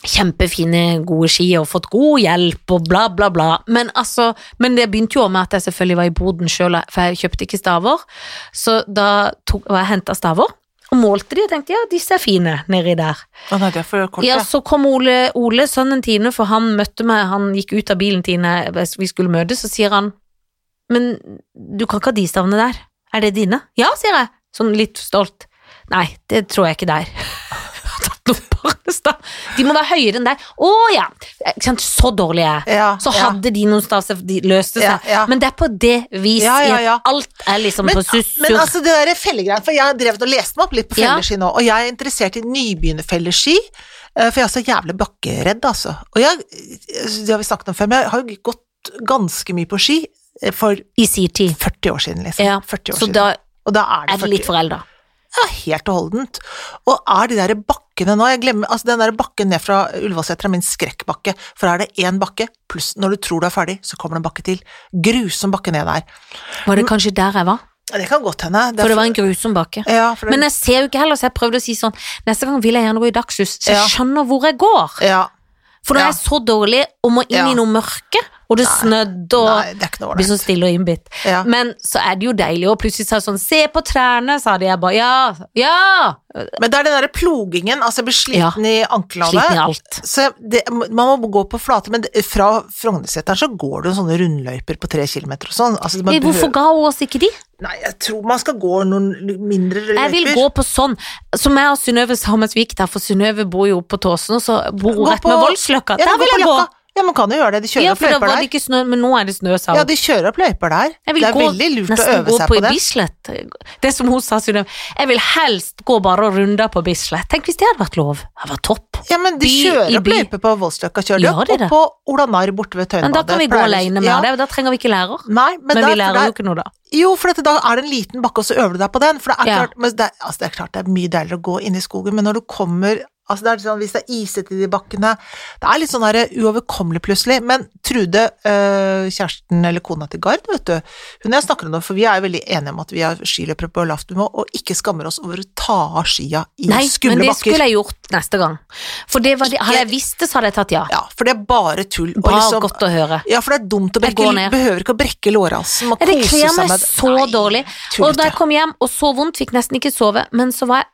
Speaker 2: Kjempefine, gode ski og fått god hjelp og bla, bla, bla. Men, altså, men det begynte jo også med at jeg selvfølgelig var i boden sjøl, for jeg kjøpte ikke staver. Så da tok, og jeg henta staver og målte de og tenkte ja, disse er fine nedi der.
Speaker 1: Å, nei, det er for kort,
Speaker 2: Ja,
Speaker 1: ja.
Speaker 2: så kom Ole, Ole, sønnen Tine, for han møtte meg, han gikk ut av bilen Tine, vi skulle møtes, så sier han, men du kan ikke ha de stavene der, er det dine? Ja, sier jeg, sånn litt stolt. Nei, det tror jeg ikke <laughs> der. Tatt noen barnestav. De må være høyere enn deg. Å ja, Ikke sant, så dårlig er jeg.
Speaker 1: Ja,
Speaker 2: Så
Speaker 1: ja.
Speaker 2: hadde de noen stav, så de løste seg.
Speaker 1: Ja, ja.
Speaker 2: Men det er på det vis,
Speaker 1: Ja, ja,
Speaker 2: i at
Speaker 1: ja.
Speaker 2: alt er liksom
Speaker 1: Men,
Speaker 2: på sussur.
Speaker 1: men altså det der er fellegreier, for jeg har drevet og lest meg opp litt på
Speaker 2: Ja.
Speaker 1: felleski nå, og jeg er interessert i nybegynnerfelleski, eh, for jeg er så jævlig bakkeredd, altså. Og jeg, det har vi snakket om før, men jeg har jo gått ganske mye på ski eh, for
Speaker 2: I sin tid.
Speaker 1: 40 år siden, liksom.
Speaker 2: Ja,
Speaker 1: 40 år
Speaker 2: så
Speaker 1: siden.
Speaker 2: da
Speaker 1: og da er det
Speaker 2: er det litt
Speaker 1: 40
Speaker 2: forelda.
Speaker 1: Ja, helt og holdent. Og er de der bakkene nå Jeg glemmer, altså Den der bakken ned fra Ullevålsetra er min skrekkbakke. For er det én bakke, pluss når du tror du er ferdig, så kommer det en bakke til. Grusom bakke ned der.
Speaker 2: Var
Speaker 1: Mm.
Speaker 2: det kanskje der jeg var?
Speaker 1: Ja, Det kan godt hende.
Speaker 2: For det var en grusom bakke.
Speaker 1: Ja, for det,
Speaker 2: Men jeg ser jo ikke heller, så jeg prøvde å si sånn Neste gang vil jeg gjerne gå i dagslys, så jeg
Speaker 1: Ja.
Speaker 2: skjønner hvor jeg går.
Speaker 1: ja.
Speaker 2: For nå er
Speaker 1: Ja.
Speaker 2: jeg så dårlig og må
Speaker 1: Ja.
Speaker 2: inn i noe mørke, og det snødde, og
Speaker 1: Nei, det er ikke noe
Speaker 2: det blir så
Speaker 1: ålreit.
Speaker 2: stille og innbitt.
Speaker 1: Ja.
Speaker 2: Men så er det jo deilig, og plutselig sa jeg sånn, se på trærne, sa de, jeg bare, ja, ja,
Speaker 1: Men det er den derre plogingen, altså jeg blir sliten i anklene.
Speaker 2: sliten i alt.
Speaker 1: Så det, man må gå på flate, men det- fra Frognerseteren så går det jo sånne rundløyper på tre kilometer og sånn. Altså, man
Speaker 2: Eh, Hvorfor
Speaker 1: behøver-
Speaker 2: ga hun oss ikke de?
Speaker 1: Nei, jeg tror man skal gå noen mindre løyper.
Speaker 2: Jeg vil gå på sånn, som jeg og Synnøve sa mens vi gikk der, for Synnøve bor jo på Tåsen, og så bor hun
Speaker 1: Gå
Speaker 2: rett ved
Speaker 1: på-
Speaker 2: Voldsløkka.
Speaker 1: Ja, men
Speaker 2: Der vil
Speaker 1: på
Speaker 2: jeg gå!
Speaker 1: Løkka. Ja, man kan jo gjøre det. De kjører
Speaker 2: Ja,
Speaker 1: opp
Speaker 2: for da
Speaker 1: løyper
Speaker 2: var det
Speaker 1: der.
Speaker 2: ikke snø, men nå er det snø, sa hun.
Speaker 1: Ja, de kjører opp løyper der.
Speaker 2: Jeg
Speaker 1: Det
Speaker 2: vil
Speaker 1: er
Speaker 2: gå,
Speaker 1: veldig lurt å
Speaker 2: nesten
Speaker 1: øve
Speaker 2: gå
Speaker 1: seg
Speaker 2: på,
Speaker 1: på det.
Speaker 2: Bislett. Det som hun sa, Synnøve. Jeg vil helst gå bare og runde på Bislett. Tenk hvis det hadde vært lov. Det hadde vært topp.
Speaker 1: Ja, men de
Speaker 2: By i
Speaker 1: kjører opp
Speaker 2: by.
Speaker 1: løyper på Voldsløkka, kjører de
Speaker 2: Gjør
Speaker 1: opp,
Speaker 2: de det?
Speaker 1: og på Ola Narr borte ved Tøyenbadet.
Speaker 2: Men da kan vi gå
Speaker 1: pleier de-
Speaker 2: alene med
Speaker 1: Ja.
Speaker 2: det, og da trenger vi ikke lærer.
Speaker 1: Nei, men,
Speaker 2: Men,
Speaker 1: der,
Speaker 2: vi lærer
Speaker 1: der,
Speaker 2: jo ikke noe da.
Speaker 1: Jo, for dette, da er det en liten bakke, og så øver du deg på den. For det er,
Speaker 2: Ja.
Speaker 1: klart, men det, er- altså, det er klart det er mye deiligere å gå inn i skogen, men når du kommer altså, det er sånn, Hvis det er isete i de bakkene Det er litt sånn der, uoverkommelig plutselig. Men Trude, øh, kjæresten eller kona til Gard, vet du, hun og jeg snakker om det, for vi er jo veldig enige om at vi er skiløpere på lavtnivå og ikke skammer oss over å ta av skia i
Speaker 2: Nei, men
Speaker 1: skumle
Speaker 2: det
Speaker 1: bakker.
Speaker 2: skulle jeg gjort neste gang. For det var det, hadde jeg visst det, så hadde jeg tatt ja.
Speaker 1: Ja, for det er bare tull. og
Speaker 2: Bra,
Speaker 1: liksom-
Speaker 2: godt å høre.
Speaker 1: Ja, for det er dumt å
Speaker 2: Jeg
Speaker 1: brekke,
Speaker 2: går ned.
Speaker 1: behøver ikke å brekke lårhalsen og
Speaker 2: Ja, Det
Speaker 1: kose
Speaker 2: kler
Speaker 1: seg
Speaker 2: meg
Speaker 1: med
Speaker 2: så
Speaker 1: Nei,
Speaker 2: dårlig.
Speaker 1: tullete.
Speaker 2: Og da jeg kom hjem og så vondt, fikk nesten ikke sove, men så var jeg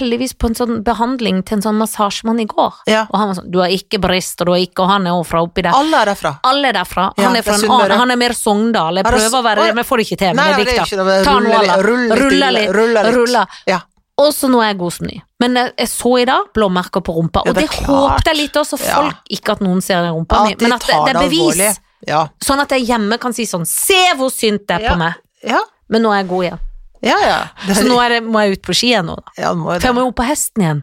Speaker 2: heldigvis på en sånn behandling til en sånn massasjemann i går.
Speaker 1: Ja.
Speaker 2: Og han var sånn 'Du har ikke brister, du har ikke Og han er jo fra oppi der.
Speaker 1: Alle er derfra.
Speaker 2: Alle er derfra.
Speaker 1: Ja,
Speaker 2: Han er
Speaker 1: det er
Speaker 2: fra en
Speaker 1: Sunnmøre.
Speaker 2: annen, han er mer Sogndal. Jeg
Speaker 1: Er det
Speaker 2: prøver å
Speaker 1: Å,
Speaker 2: være
Speaker 1: ja.
Speaker 2: det, men jeg får det ikke
Speaker 1: Nei,
Speaker 2: til med
Speaker 1: nei, det er ikke
Speaker 2: dikta.
Speaker 1: noe-
Speaker 2: Ta nå
Speaker 1: ruller litt-
Speaker 2: alle.
Speaker 1: ruller litt-
Speaker 2: Ruller litt.
Speaker 1: ruller litt.
Speaker 2: Ruller.
Speaker 1: Ja.
Speaker 2: Og så nå er jeg god som ny. Men jeg, jeg så i dag blåmerker på rumpa,
Speaker 1: Ja, det
Speaker 2: og det,
Speaker 1: er klart.
Speaker 2: håpet jeg litt også,
Speaker 1: Ja.
Speaker 2: folk ikke at noen ser den rumpa mi,
Speaker 1: At de
Speaker 2: men at det,
Speaker 1: tar
Speaker 2: det er bevis.
Speaker 1: alvorlig. Ja.
Speaker 2: Sånn at jeg hjemme kan si sånn 'Se hvor synt det er
Speaker 1: Ja.
Speaker 2: på meg',
Speaker 1: Ja,
Speaker 2: men nå er jeg god igjen.
Speaker 1: ja. ja. Det,
Speaker 2: Så nå er det, må jeg ut på ski igjen nå, da.
Speaker 1: ja, nå er
Speaker 2: For
Speaker 1: det.
Speaker 2: jeg må jo opp på hesten igjen.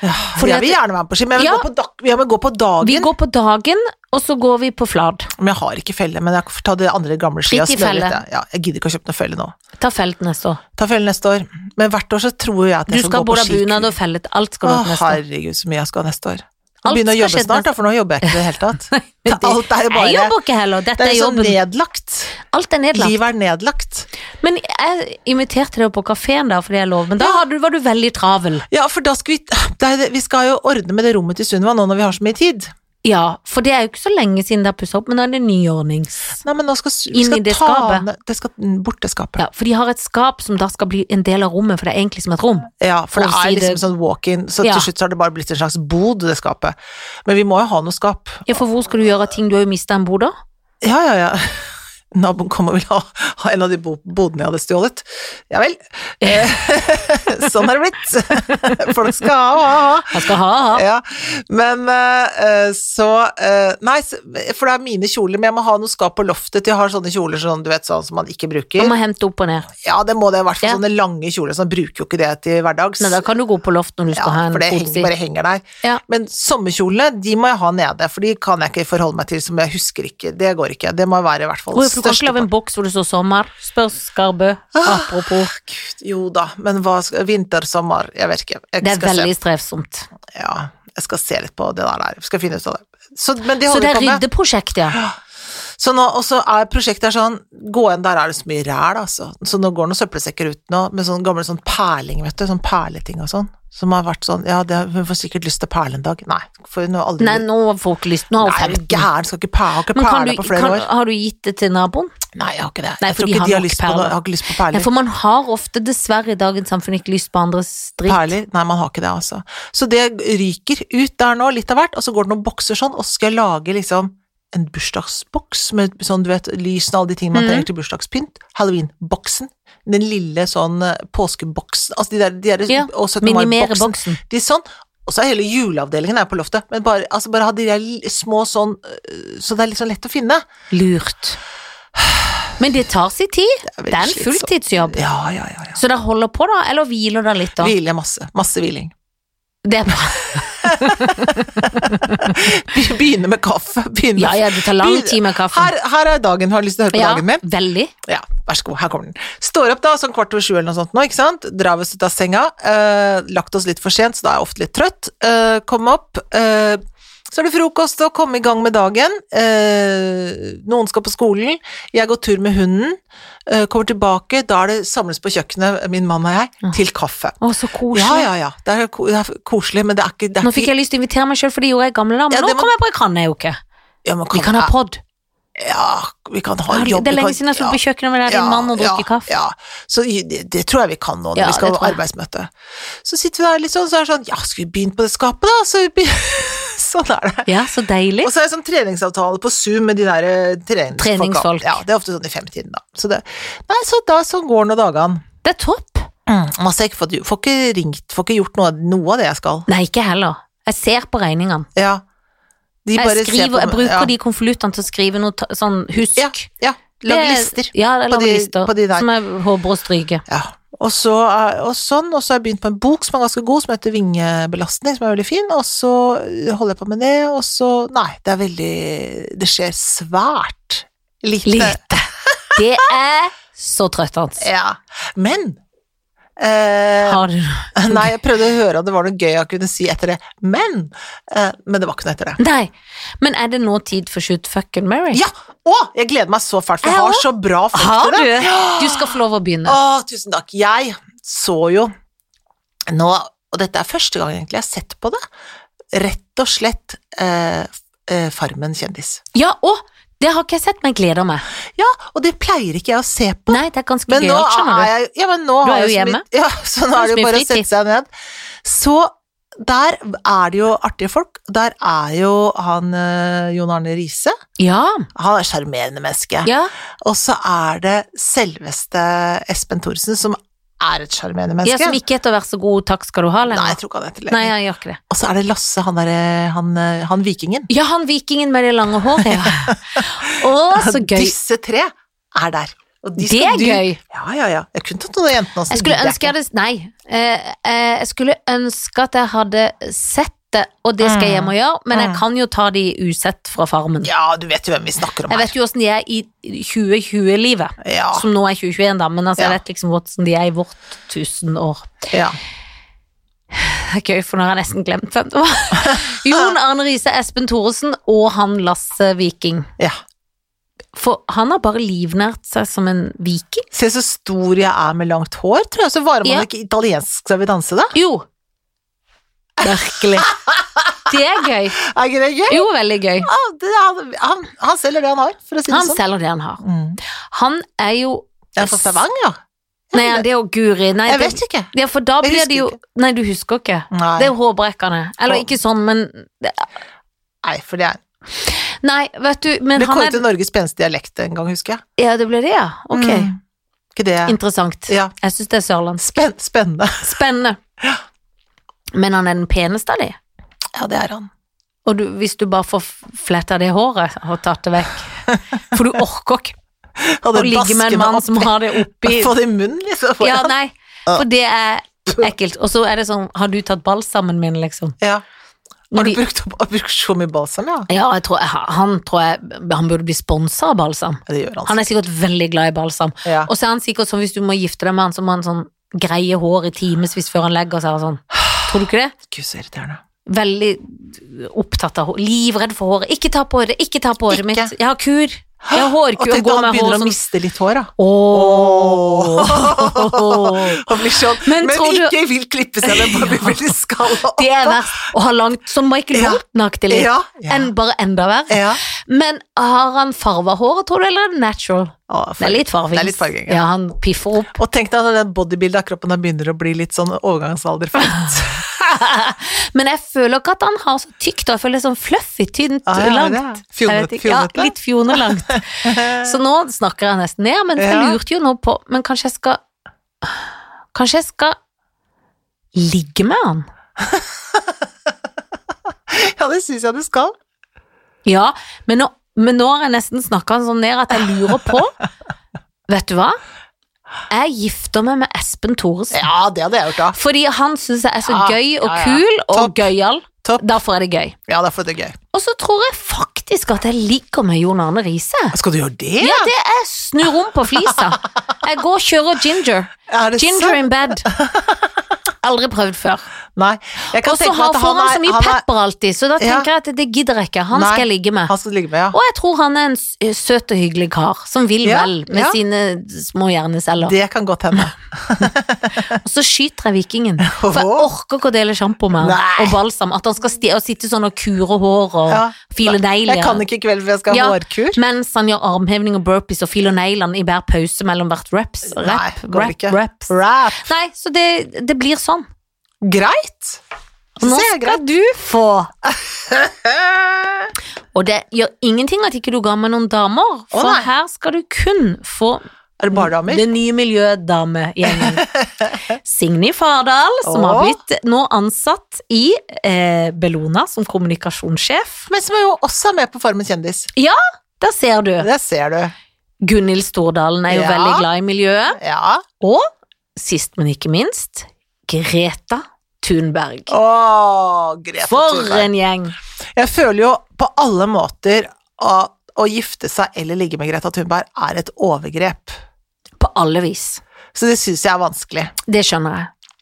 Speaker 1: For
Speaker 2: fordi
Speaker 1: jeg vil
Speaker 2: at-
Speaker 1: gjerne være med på ski, men jeg vil,
Speaker 2: Ja.
Speaker 1: gå, på dag, jeg vil gå på dagen.
Speaker 2: Vi går på dagen, og så går vi på Flad.
Speaker 1: Men jeg har ikke felle, men jeg får ta de andre gamle skia.
Speaker 2: Drit i
Speaker 1: smøre
Speaker 2: felle.
Speaker 1: litt, jeg. Ja, jeg gidder ikke å kjøpe noe felle nå.
Speaker 2: Ta felt neste år.
Speaker 1: Ta felle neste år. Men hvert år så tror jeg at
Speaker 2: Du
Speaker 1: jeg
Speaker 2: skal
Speaker 1: skal, gå
Speaker 2: både
Speaker 1: på
Speaker 2: ha
Speaker 1: skikur.
Speaker 2: bunad og fellet. Alt skal du
Speaker 1: Å,
Speaker 2: ha til neste år.
Speaker 1: herregud, så mye jeg skal ha neste år.
Speaker 2: Alt
Speaker 1: Begynne å
Speaker 2: skal
Speaker 1: jobbe
Speaker 2: skje
Speaker 1: snart, da, for nå jobber jeg ikke i det hele tatt.
Speaker 2: Men <laughs> det-
Speaker 1: Alt er jo
Speaker 2: Jeg
Speaker 1: bare
Speaker 2: jobber ikke heller. Dette
Speaker 1: Det
Speaker 2: er
Speaker 1: er sånn
Speaker 2: jobben.
Speaker 1: nedlagt.
Speaker 2: Alt er nedlagt.
Speaker 1: Livet er nedlagt.
Speaker 2: Men jeg inviterte deg jo på kafeen da, fordi jeg lov, men da har du, var du veldig travel.
Speaker 1: Ja, for da skal vi det er, det- Vi skal jo ordne med det rommet til Sunniva nå når vi har så mye tid.
Speaker 2: Ja, for det er jo ikke så lenge siden det er pussa opp, men nå er det nyordnings.
Speaker 1: Nei, men nå skal vi
Speaker 2: Inn i
Speaker 1: skal
Speaker 2: det
Speaker 1: ta
Speaker 2: skapet.
Speaker 1: ned- Det skal mm, bort, det skapet.
Speaker 2: Ja, for de har et skap som da skal bli en del av rommet, for det er egentlig som et rom.
Speaker 1: Ja, for det
Speaker 2: Og
Speaker 1: er
Speaker 2: si
Speaker 1: liksom
Speaker 2: det-
Speaker 1: sånn walk-in, så
Speaker 2: Ja.
Speaker 1: til slutt så har det bare blitt en slags bod, det skapet. Men vi må jo ha noe skap.
Speaker 2: Ja, for hvor skal du gjøre av ting? Du har jo mista en bod da.
Speaker 1: Ja, ja, ja. <laughs> Naboen kom og ville ha, ha en av de bo- bodene jeg hadde stjålet. Ja
Speaker 2: <laughs>
Speaker 1: vel. Eh, <laughs> sånn er det blitt. <laughs> Folk skal ha og ha, ha.
Speaker 2: Jeg skal ha, ha.
Speaker 1: <laughs> Ja, men eh, eh, så eh, Nei, s- for det er mine kjoler, men jeg må ha noe skap på loftet til jeg har sånne kjoler sånn, du vet, sånn som man ikke
Speaker 2: Man
Speaker 1: bruker.
Speaker 2: må hente opp og ned.
Speaker 1: Ja, det må det, i hvert fall
Speaker 2: Ja.
Speaker 1: sånne lange kjoler, sånn bruker jo ikke det til hverdags.
Speaker 2: Nei, da kan du gå på loft når du skal
Speaker 1: ja,
Speaker 2: ha en
Speaker 1: for det henger,
Speaker 2: fotsid.
Speaker 1: bare henger der.
Speaker 2: Ja.
Speaker 1: Men sommerkjolene, de må jeg ha nede, for de kan jeg ikke forholde meg til, som jeg husker ikke. Det går ikke. Det må være i hvert fall
Speaker 2: Hvorfor Du kan ikke lage
Speaker 1: største
Speaker 2: en boks hvor det står sommer. Spør Skarbø.
Speaker 1: Ah,
Speaker 2: Apropos.
Speaker 1: Gud, Jo da, men hva skal Vinter, sommer, jeg vet ikke. Jeg
Speaker 2: Det er
Speaker 1: skal se-
Speaker 2: veldig strevsomt.
Speaker 1: Ja, jeg skal se litt på det der, der. skal finne ut av det. Så, men de
Speaker 2: Så det
Speaker 1: holder
Speaker 2: er
Speaker 1: på med.
Speaker 2: ryddeprosjekt, ja.
Speaker 1: Så nå, og så er prosjektet er sånn, gå inn der er det så mye ræl, altså. Så nå går noen søppelsekker ut nå, med sånn gamle sånn perling, vet du, sånn perleting og sånn. Som har vært sånn, ja, det, hun får sikkert lyst til perle en dag. Nei, for hun har aldri...
Speaker 2: Nei, nå får ikke lyst. Nå
Speaker 1: Nei,
Speaker 2: har
Speaker 1: er
Speaker 2: hun
Speaker 1: du
Speaker 2: 15.
Speaker 1: gæren, skal ikke perle, har ikke
Speaker 2: Men kan
Speaker 1: perle
Speaker 2: du,
Speaker 1: på flere
Speaker 2: kan,
Speaker 1: år.
Speaker 2: har du gitt det til naboen?
Speaker 1: Nei, jeg har ikke det.
Speaker 2: Nei,
Speaker 1: jeg
Speaker 2: for
Speaker 1: tror
Speaker 2: de
Speaker 1: ikke
Speaker 2: har
Speaker 1: de har
Speaker 2: nok
Speaker 1: lyst på
Speaker 2: perler.
Speaker 1: noe, jeg har ikke lyst på
Speaker 2: Nei,
Speaker 1: perler.
Speaker 2: for man har ofte dessverre i dagens samfunn ikke lyst på andres dritt.
Speaker 1: Perler? Nei, man har ikke det, altså. Så det ryker ut der nå, litt av hvert, og så går det noen bokser sånn, og så skal jeg lage liksom en bursdagsboks med sånn, du vet, lysene og alle de tingene man
Speaker 2: Mhm.
Speaker 1: trenger til bursdagspynt. Halloween-boksen. Den lille sånn eh, påskeboksen, altså de der, de der
Speaker 2: Ja,
Speaker 1: og 17.
Speaker 2: Minimere
Speaker 1: mai-boksen.
Speaker 2: boksen.
Speaker 1: De er sånn. Og så er hele juleavdelingen her på loftet, men bare, altså bare ha de der li- små sånn, eh, så det er litt sånn lett å finne.
Speaker 2: Lurt. Men det tar sin tid.
Speaker 1: er veldig
Speaker 2: Det er en
Speaker 1: slitsomt.
Speaker 2: fulltidsjobb.
Speaker 1: Ja, ja, ja. ja.
Speaker 2: Så det holder på, da? Eller hviler det litt, da?
Speaker 1: Hvile masse. Masse hviling. <laughs>
Speaker 2: Det er bra.
Speaker 1: Begynne med kaffe. Begynne
Speaker 2: Ja, ja, det tar lang tid med kaffen.
Speaker 1: Her, her er dagen, har du lyst til å høre på dagen min?
Speaker 2: veldig.
Speaker 1: Ja, vær så god, her kommer den. Står opp da, sånn kvart over sju eller noe sånt nå, ikke sant? Drar oss ut av senga. eh, lagt oss litt for sent, så da er jeg ofte litt trøtt. Uh, kom opp. eh, så er det frokost og komme i gang med dagen. Eh, noen skal på skolen. Jeg går tur med hunden. eh, kommer tilbake, da er det samles på kjøkkenet, min mann og jeg,
Speaker 2: Mm.
Speaker 1: til kaffe.
Speaker 2: Å, så koselig.
Speaker 1: Ja, ja, ja. Det er, ko- det er koselig, men det er ikke, det er
Speaker 2: Nå
Speaker 1: ikke
Speaker 2: fikk jeg lyst til å invitere meg sjøl, for det gjorde jeg i gamle dager.
Speaker 1: Ja,
Speaker 2: Men
Speaker 1: det
Speaker 2: nå
Speaker 1: må-
Speaker 2: kom jeg på, jeg kan jeg jo ikke.
Speaker 1: Ja, men
Speaker 2: Vi kan ha pod.
Speaker 1: Ja, vi kan ha
Speaker 2: Har du-
Speaker 1: jobb.
Speaker 2: Det er
Speaker 1: vi
Speaker 2: lenge
Speaker 1: kan-
Speaker 2: siden jeg sto
Speaker 1: ja.
Speaker 2: på kjøkkenet med deg, din mann og drukket kaffe.
Speaker 1: Ja, så det, det tror jeg vi kan nå når
Speaker 2: Ja,
Speaker 1: vi skal
Speaker 2: det
Speaker 1: ha
Speaker 2: tror jeg.
Speaker 1: arbeidsmøte. Så sitter vi der litt sånn, så er det sånn Ja, skal vi begynne på det skapet, da? Så vi <laughs> begyn- sånn er det.
Speaker 2: Ja, så deilig.
Speaker 1: Og så er det sånn treningsavtale på Zoom med de der eh, treningsfolka.
Speaker 2: Treningsfolk.
Speaker 1: Ja, det er ofte sånn i femtiden, da. Så det, nei, så da sånn går nå dagene.
Speaker 2: Det er topp.
Speaker 1: Mm, masse jeg ikke fått, får ikke ringt, får ikke gjort noe, noe av det jeg skal.
Speaker 2: Nei, ikke heller. Jeg ser på regningene.
Speaker 1: Ja. De
Speaker 2: Jeg,
Speaker 1: bare ser på-
Speaker 2: skriver, jeg bruker
Speaker 1: ja.
Speaker 2: de konvoluttene til å skrive noe ta- sånn husk.
Speaker 1: Ja, ja. Lage
Speaker 2: Det-
Speaker 1: lister.
Speaker 2: Ja, jeg
Speaker 1: på
Speaker 2: lager
Speaker 1: de-
Speaker 2: lister
Speaker 1: på de der.
Speaker 2: som jeg håper å stryke.
Speaker 1: Ja. Og så, er- og sånn, og så har jeg begynt på en bok som er ganske god, som heter Vingebelastning, som er veldig fin, og så holder jeg på med det, og så Nei, det er veldig Det skjer svært lite.
Speaker 2: Lite. Det er så trøttende.
Speaker 1: Ja. Men eh,
Speaker 2: Har du
Speaker 1: Nei, jeg prøvde å høre om det var noe gøy jeg kunne si etter det, men eh, Men det var ikke noe etter det.
Speaker 2: Nei. Men er det nå tid for Shoot Fuck and Mary?
Speaker 1: Ja! Å, jeg gleder meg så fælt, for jeg
Speaker 2: Jeg
Speaker 1: har
Speaker 2: også.
Speaker 1: så bra folk
Speaker 2: Har
Speaker 1: til det.
Speaker 2: du? Du skal få lov å begynne.
Speaker 1: Å, tusen takk. Jeg så jo nå, og dette er første gang egentlig jeg har sett på det, rett og slett eh, eh, Farmen kjendis.
Speaker 2: Ja, å! Det har ikke jeg sett, men jeg gleder meg.
Speaker 1: Ja, og det pleier ikke jeg å se på.
Speaker 2: Nei, det er ganske
Speaker 1: Men
Speaker 2: gøy,
Speaker 1: nå
Speaker 2: alt, skjønner
Speaker 1: er
Speaker 2: du.
Speaker 1: jeg ja, men nå
Speaker 2: Du
Speaker 1: har
Speaker 2: er
Speaker 1: jeg
Speaker 2: jo
Speaker 1: så mye- <laughs> Ja, så nå er
Speaker 2: har
Speaker 1: det
Speaker 2: så
Speaker 1: jo
Speaker 2: mye
Speaker 1: bare å sette
Speaker 2: fritid.
Speaker 1: seg ned. Så der er det jo artige folk. Der er jo han eh, Jon Arne Riise.
Speaker 2: Ja,
Speaker 1: Han er sjarmerende menneske.
Speaker 2: ja.
Speaker 1: Og så er det selveste Espen Thorsen, som er et sjarmerende
Speaker 2: Jeg
Speaker 1: menneske.
Speaker 2: som ikke heter 'vær så god, takk skal du ha'
Speaker 1: Nei,
Speaker 2: lenger.
Speaker 1: jeg tror ikke han heter
Speaker 2: Nei,
Speaker 1: lenger.
Speaker 2: jeg gjør ikke det.
Speaker 1: Og så er det Lasse, han, der, han, eh, han vikingen.
Speaker 2: Ja, han vikingen med det lange håret, ja. Å,
Speaker 1: <laughs>
Speaker 2: så gøy.
Speaker 1: Disse tre er der. Og de
Speaker 2: Det
Speaker 1: skal
Speaker 2: er gøy.
Speaker 1: Ja, ja, ja. Jeg kunne tatt noen av jentene også.
Speaker 2: Jeg skulle ønske jeg hadde Nei. eh, eh, Jeg skulle ønske at jeg hadde sett det, og det skal jeg hjem og gjøre, men jeg
Speaker 1: Mm.
Speaker 2: kan jo ta de usett fra Farmen.
Speaker 1: Ja, du vet jo hvem vi snakker om
Speaker 2: Jeg vet jo åssen de er i 2020-livet,
Speaker 1: her. Ja,
Speaker 2: som nå er 2021, da, men altså,
Speaker 1: Ja.
Speaker 2: jeg vet liksom hvordan de er i vårt tusenår.
Speaker 1: ja.
Speaker 2: Det er gøy, for nå har jeg nesten glemt hvem det
Speaker 1: <laughs>
Speaker 2: var. Jon Arne Riise, Espen Thoresen og han Lasse Viking.
Speaker 1: ja.
Speaker 2: For han har bare livnært seg som en viking.
Speaker 1: Se så stor jeg er med langt hår, tror jeg. Så varer man
Speaker 2: Ja.
Speaker 1: ikke italiensk skal vi danse, da.
Speaker 2: Jo. Virkelig. Det er gøy.
Speaker 1: Er ikke det gøy?
Speaker 2: Jo, veldig gøy.
Speaker 1: Ja, det, han, han, han selger det han har, for å si det
Speaker 2: Han
Speaker 1: sånn.
Speaker 2: selger det han har.
Speaker 1: Mm.
Speaker 2: Han er jo
Speaker 1: Jeg er fra Stavanger, ja.
Speaker 2: Nei, det er jo Guri. Nei,
Speaker 1: Jeg
Speaker 2: det,
Speaker 1: vet ikke.
Speaker 2: ja, for da
Speaker 1: Jeg
Speaker 2: blir
Speaker 1: husker
Speaker 2: det jo
Speaker 1: ikke.
Speaker 2: Nei, du husker ikke.
Speaker 1: Nei,
Speaker 2: Det er jo hårbrekkerne. Eller
Speaker 1: Å.
Speaker 2: ikke sånn, men
Speaker 1: Nei for det er
Speaker 2: Nei, vet du, men
Speaker 1: Det
Speaker 2: han
Speaker 1: kåret
Speaker 2: er
Speaker 1: til Norges peneste dialekt en gang, husker jeg.
Speaker 2: Ja, det ble det, ja. Ok.
Speaker 1: Mm. Ikke det
Speaker 2: Interessant.
Speaker 1: Ja.
Speaker 2: Jeg syns det er sørlandsk.
Speaker 1: Spenn, spennende.
Speaker 2: Spennende. Men han er den peneste av de.
Speaker 1: Ja, det er han.
Speaker 2: Og du, hvis du bare får f- fletta det håret og tatt det vekk For du orker ikke å ligge med en mann som har det oppi
Speaker 1: Få det i munnen, liksom.
Speaker 2: Ja, nei,
Speaker 1: Ja.
Speaker 2: for det er ekkelt. Og så er det sånn, har du tatt balsamen min, liksom?
Speaker 1: Ja. Har
Speaker 2: Når
Speaker 1: du
Speaker 2: de,
Speaker 1: brukt, opp- har brukt så mye balsam, ja?
Speaker 2: ja, jeg tror, jeg har- han tror jeg han burde bli sponsa av balsam.
Speaker 1: Ja, det gjør han.
Speaker 2: Han er sikkert veldig glad i balsam.
Speaker 1: ja.
Speaker 2: Og så er han sikkert sånn, hvis du må gifte deg med han, så må han sånn greie hår i timevis før han legger seg og sånn. Tror du ikke det?
Speaker 1: Gud, så irriterende.
Speaker 2: veldig opptatt av hår. Livredd for håret. Ikke ta på det, ikke ta på håret
Speaker 1: Ikke.
Speaker 2: mitt. Jeg har kur. Jeg har
Speaker 1: Og
Speaker 2: hårkur og
Speaker 1: tenk da
Speaker 2: går
Speaker 1: han
Speaker 2: med hår
Speaker 1: begynner å
Speaker 2: som
Speaker 1: miste litt hår, da.
Speaker 2: Åh.
Speaker 1: Han blir sånn,
Speaker 2: Men
Speaker 1: men,
Speaker 2: tror du-
Speaker 1: ikke vil klippe seg ned, bare blir veldig skalla opp.
Speaker 2: <laughs> Det er verst. Å ha langt Sånn Michael
Speaker 1: Ja.
Speaker 2: Bolton-aktig litt.
Speaker 1: Ja. ja.
Speaker 2: Enn bare enda verre.
Speaker 1: ja.
Speaker 2: Men har han farva håret, tror du, eller er det natural?
Speaker 1: Å,
Speaker 2: Det er litt farving.
Speaker 1: Det er litt farging,
Speaker 2: ja.
Speaker 1: ja.
Speaker 2: han piffer
Speaker 1: <laughs>
Speaker 2: opp.
Speaker 1: Og tenk deg når det bodybuildet av kroppen da begynner å bli litt sånn overgangsalderfett.
Speaker 2: <laughs> Men jeg føler ikke at han har så tykt, og jeg føler det er sånn fluffy, tynt,
Speaker 1: Ah, Ja, ja, det er det.
Speaker 2: langt. Jeg vet
Speaker 1: Fjonete-
Speaker 2: ikke, ja,
Speaker 1: fjonete.
Speaker 2: litt
Speaker 1: <laughs>
Speaker 2: fjonelangt. Så nå snakker jeg nesten ned, men jeg
Speaker 1: Ja.
Speaker 2: lurte jo nå på Men kanskje jeg skal Kanskje jeg skal ligge med han?
Speaker 1: Ja, det syns jeg du skal.
Speaker 2: Ja, men nå, men nå har jeg nesten snakka han sånn ned at jeg lurer
Speaker 1: <laughs>
Speaker 2: på Vet du hva? Jeg gifter meg med Espen Thoresen.
Speaker 1: Ja, det hadde jeg gjort, da.
Speaker 2: Fordi han syns jeg er så
Speaker 1: Ja,
Speaker 2: gøy og
Speaker 1: ja, ja.
Speaker 2: kul
Speaker 1: Topp.
Speaker 2: og gøyal.
Speaker 1: Topp.
Speaker 2: Derfor er det gøy.
Speaker 1: Ja, derfor er det gøy.
Speaker 2: Og så tror jeg faktisk at jeg ligger med Jon Arne Riise.
Speaker 1: Skal du gjøre det?
Speaker 2: Ja, det er snur om på flisa. Jeg går og kjører ginger.
Speaker 1: Er det
Speaker 2: Ginger in bed. Aldri prøvd før.
Speaker 1: Nei. Jeg kan
Speaker 2: Og så
Speaker 1: tenke meg
Speaker 2: har
Speaker 1: at
Speaker 2: får
Speaker 1: han
Speaker 2: han
Speaker 1: er,
Speaker 2: så mye
Speaker 1: han, er,
Speaker 2: pepper alltid, så da tenker jeg at det gidder jeg ikke. Han
Speaker 1: Nei. Altså.
Speaker 2: skal jeg ligge med.
Speaker 1: han skal ligge med, ja.
Speaker 2: Og jeg tror han er en s- søt og hyggelig kar, som vil
Speaker 1: Ja,
Speaker 2: vel med
Speaker 1: ja.
Speaker 2: sine små hjerneceller.
Speaker 1: Det kan godt hende.
Speaker 2: Og så skyter jeg vikingen. For jeg
Speaker 1: Åhå.
Speaker 2: orker ikke å dele sjampo med han,
Speaker 1: Nei.
Speaker 2: og balsam. At han skal sti og sitte sånn og kure hår og
Speaker 1: Ja.
Speaker 2: filer negler.
Speaker 1: Jeg kan ikke i kveld, for jeg skal ha
Speaker 2: Ja,
Speaker 1: vårkur.
Speaker 2: Mens han gjør armhevning og burpees og filer neglene i hver pause mellom hvert reps.
Speaker 1: Nei,
Speaker 2: Rep,
Speaker 1: går
Speaker 2: rep,
Speaker 1: ikke.
Speaker 2: reps.
Speaker 1: Rap.
Speaker 2: Nei, så det, det blir sånn.
Speaker 1: Greit!
Speaker 2: Og nå
Speaker 1: Se, greit.
Speaker 2: skal du få
Speaker 1: Eh,
Speaker 2: Og det gjør ingenting at ikke du ga meg noen damer, for
Speaker 1: nei.
Speaker 2: her skal du kun få
Speaker 1: Er det bare damer?
Speaker 2: det nye
Speaker 1: <laughs>
Speaker 2: miljødamegjengen. Signe Fardal, som
Speaker 1: Åh.
Speaker 2: har blitt nå ansatt i eh, Bellona som kommunikasjonssjef.
Speaker 1: Men som er jo også er med på Farmen kjendis.
Speaker 2: Der ser du.
Speaker 1: Det ser du.
Speaker 2: Gunhild Stordalen er jo
Speaker 1: Ja.
Speaker 2: veldig glad i miljøet.
Speaker 1: Ja.
Speaker 2: Og sist, men ikke minst, Greta Thunberg.
Speaker 1: Å, Grete
Speaker 2: For
Speaker 1: Thunberg.
Speaker 2: en gjeng!
Speaker 1: Jeg føler jo på alle måter at å gifte seg eller ligge med Greta Thunberg er et overgrep.
Speaker 2: På alle vis.
Speaker 1: Så det syns jeg er vanskelig.
Speaker 2: Det skjønner jeg.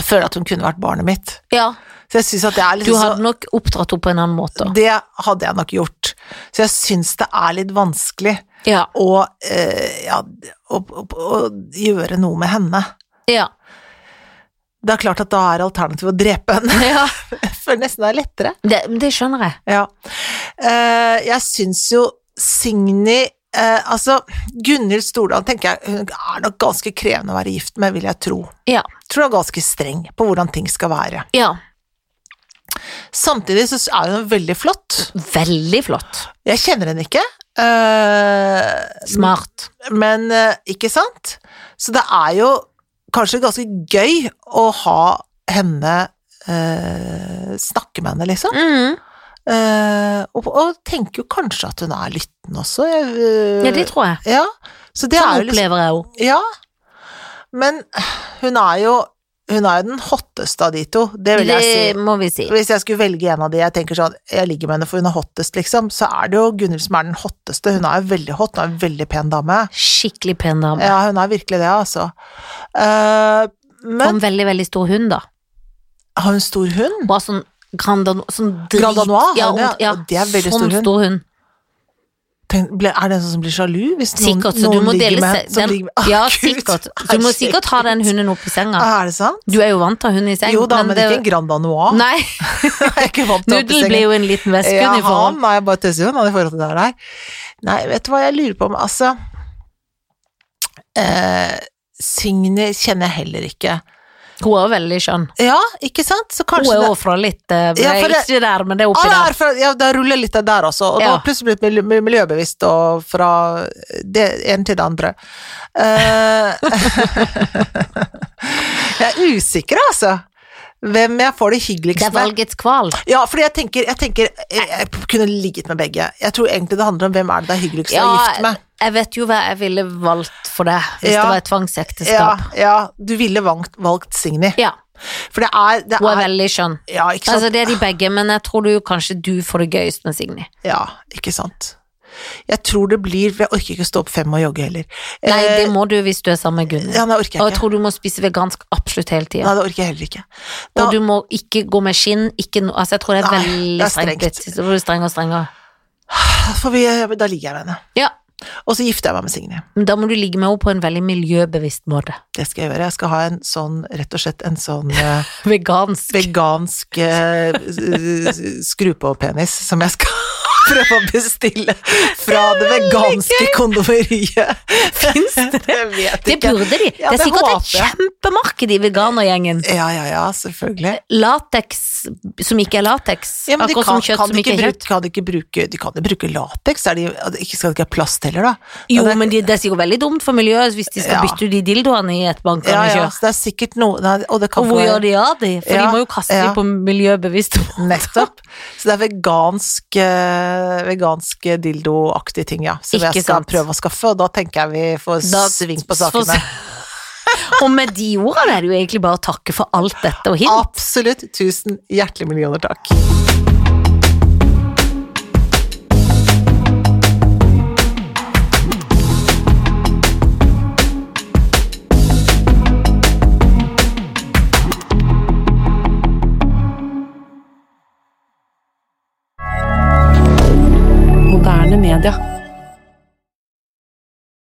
Speaker 1: Jeg føler at hun kunne vært barnet mitt.
Speaker 2: Ja,
Speaker 1: Så jeg synes at det er litt sånn-
Speaker 2: Du
Speaker 1: så-
Speaker 2: hadde nok oppdratt henne på en annen måte.
Speaker 1: Det hadde jeg nok gjort. Så jeg syns det er litt vanskelig
Speaker 2: Ja,
Speaker 1: å, eh, ja, å, å, å gjøre noe med henne.
Speaker 2: ja.
Speaker 1: Det er klart at da er alternativet å drepe henne.
Speaker 2: <laughs> ja.
Speaker 1: <laughs> Jeg føler nesten det er lettere.
Speaker 2: Det, det skjønner jeg.
Speaker 1: Ja. Eh, jeg syns jo Signy eh, Altså, Gunhild Stordalen tenker jeg hun er nok ganske krevende å være gift med, vil jeg tro.
Speaker 2: Ja.
Speaker 1: Tror hun er ganske streng på hvordan ting skal være.
Speaker 2: ja.
Speaker 1: Samtidig så er hun veldig flott.
Speaker 2: Veldig flott.
Speaker 1: Jeg kjenner henne ikke. eh,
Speaker 2: Smart.
Speaker 1: men eh, ikke sant? Så det er jo kanskje ganske gøy å ha henne eh, Snakke med henne, liksom.
Speaker 2: Mhm.
Speaker 1: Eh, og, og tenker jo kanskje at hun er lyttende også. Jeg, eh,
Speaker 2: Ja, det tror jeg.
Speaker 1: Ja, så det
Speaker 2: Sånn
Speaker 1: er jo liksom
Speaker 2: opplever jeg henne.
Speaker 1: Ja. Men hun er jo Hun er jo den hotteste av de to, det vil jeg
Speaker 2: Det
Speaker 1: si.
Speaker 2: må vi si.
Speaker 1: Hvis jeg skulle velge en av de jeg tenker sånn Jeg ligger med henne for hun er hottest, liksom, så er det jo Gunhild som er den hotteste. Hun er jo veldig hot, hun er en veldig pen dame.
Speaker 2: Skikkelig pen dame.
Speaker 1: Ja, hun er virkelig det, altså. Eh,
Speaker 2: Og en
Speaker 1: men
Speaker 2: Sånn veldig, veldig stor hund, da.
Speaker 1: har hun stor hund?
Speaker 2: Bare sånn Grand Danois. Sånn drit-
Speaker 1: Grand Danois,
Speaker 2: ja,
Speaker 1: har hun det?
Speaker 2: og- ja,
Speaker 1: Og det er veldig
Speaker 2: sånn
Speaker 1: stor hund.
Speaker 2: stor hund.
Speaker 1: Tenk, ble, er det en sånn som blir sjalu hvis noen,
Speaker 2: Sikkert. Så du
Speaker 1: noen
Speaker 2: må
Speaker 1: ligger
Speaker 2: dele
Speaker 1: med
Speaker 2: se-
Speaker 1: en som
Speaker 2: den.
Speaker 1: ligger med Å,
Speaker 2: Ja,
Speaker 1: Gud, Ah,
Speaker 2: sikkert. Du må sikkert ha den hunden opp i senga.
Speaker 1: Er det sant?
Speaker 2: Du er jo vant til hund i seng.
Speaker 1: Jo da, men,
Speaker 2: det-
Speaker 1: ikke en Grand Danois.
Speaker 2: Nei,
Speaker 1: <laughs> Jeg er ikke vant til
Speaker 2: Nudel blir jo en liten veskeuniform.
Speaker 1: Jaha, nei, jeg bare tøyser med han i forhold til det her. Nei. nei, vet du hva jeg lurer på om, altså eh, Signe kjenner jeg heller ikke.
Speaker 2: Hun er jo veldig skjønn.
Speaker 1: Ja, ikke sant? Så
Speaker 2: Hun
Speaker 1: kanskje
Speaker 2: er
Speaker 1: det
Speaker 2: jo fra litt eh,
Speaker 1: Ja, for det-
Speaker 2: Ikke der, men det er oppi
Speaker 1: Ah, det
Speaker 2: der.
Speaker 1: er fra, ja, da ruller jeg litt av der også, og da
Speaker 2: Ja.
Speaker 1: har jeg plutselig blitt miljø- mil- miljøbevisst og fra det ene til det andre. Eh, <laughs> jeg er usikker, altså. Hvem jeg får det
Speaker 2: Det er
Speaker 1: hyggeligst med.
Speaker 2: valgets kval.
Speaker 1: Ja, fordi jeg tenker, jeg tenker jeg, jeg kunne ligget med begge. Jeg tror egentlig det handler om hvem er det det er hyggeligst å være gift med.
Speaker 2: jeg vet jo hva jeg ville valgt for deg hvis
Speaker 1: Ja.
Speaker 2: det var et
Speaker 1: Ja,
Speaker 2: tvangsekteskap.
Speaker 1: ja, du ville valgt, valgt Signy.
Speaker 2: Ja.
Speaker 1: For det er, det
Speaker 2: hun er
Speaker 1: er
Speaker 2: veldig skjønn.
Speaker 1: Ja, ikke sant.
Speaker 2: Altså, det er de begge, men jeg tror du kanskje du får det gøyest med Signy.
Speaker 1: Ja, ikke sant. Jeg tror det blir for Jeg orker ikke å stå opp fem og jogge heller.
Speaker 2: Nei,
Speaker 1: Eh,
Speaker 2: det må du hvis du er sammen med Gunhild.
Speaker 1: Ja, det orker jeg
Speaker 2: Og
Speaker 1: ikke.
Speaker 2: jeg tror du må spise vegansk absolutt hele tida.
Speaker 1: Nei, det orker jeg heller ikke. Da,
Speaker 2: Og du må ikke gå med skinn, ikke no Altså, jeg tror det er
Speaker 1: Nei, det
Speaker 2: veldig
Speaker 1: er
Speaker 2: strengt.
Speaker 1: strengt.
Speaker 2: blitt. Så blir du strengere og strengere.
Speaker 1: får vi, da ligger jeg med henne.
Speaker 2: Ja,
Speaker 1: Og så gifter jeg meg med Signe.
Speaker 2: men da må du ligge med henne på en veldig miljøbevisst måte. <laughs>
Speaker 1: Det skal jeg gjøre. Jeg skal ha en sånn, rett og slett en sånn
Speaker 2: <laughs>
Speaker 1: eh,
Speaker 2: Vegansk.
Speaker 1: vegansk eh, skru-på-penis som jeg skal <laughs> prøve å bestille fra det veganske kondomeriet. <laughs>
Speaker 2: Fins det?
Speaker 1: Jeg vet
Speaker 2: Det
Speaker 1: ikke.
Speaker 2: burde de.
Speaker 1: Ja,
Speaker 2: det er sikkert et
Speaker 1: håper jeg.
Speaker 2: kjempemarked i veganergjengen.
Speaker 1: Ja, ja, ja, selvfølgelig.
Speaker 2: Lateks som ikke er lateks.
Speaker 1: Ja, men de
Speaker 2: Akkurat
Speaker 1: kan,
Speaker 2: som kjøtt
Speaker 1: kan
Speaker 2: som
Speaker 1: de
Speaker 2: ikke
Speaker 1: ikke
Speaker 2: er
Speaker 1: bruke,
Speaker 2: kjøtt.
Speaker 1: kan de ikke bruke, de kan jo bruke lateks, er de, ikke- skal det ikke ha plast heller, da?
Speaker 2: Jo,
Speaker 1: det-
Speaker 2: men de, det er sikkert veldig dumt for miljøet hvis de skal
Speaker 1: Ja.
Speaker 2: bytte ut de dildoene i et
Speaker 1: Ja,
Speaker 2: bankerne
Speaker 1: ja,
Speaker 2: kjør.
Speaker 1: så det er sikkert noe nei, Og det kan
Speaker 2: Og hvor
Speaker 1: få-
Speaker 2: gjør de av de? For
Speaker 1: Ja,
Speaker 2: de må jo kaste
Speaker 1: ja.
Speaker 2: de på miljøbevisst
Speaker 1: Nettopp. Så det er vegansk, eh, vegansk dildoaktig ting, ja. Som
Speaker 2: Ikke
Speaker 1: jeg skal
Speaker 2: sant.
Speaker 1: prøve å skaffe, og da tenker jeg vi får
Speaker 2: <laughs> Da-
Speaker 1: <laughs> sving på
Speaker 2: for-
Speaker 1: sakene.
Speaker 2: <laughs> Og med de ordene er det jo egentlig bare å takke for alt dette og hint.
Speaker 1: Absolutt. Tusen hjertelig millioner takk.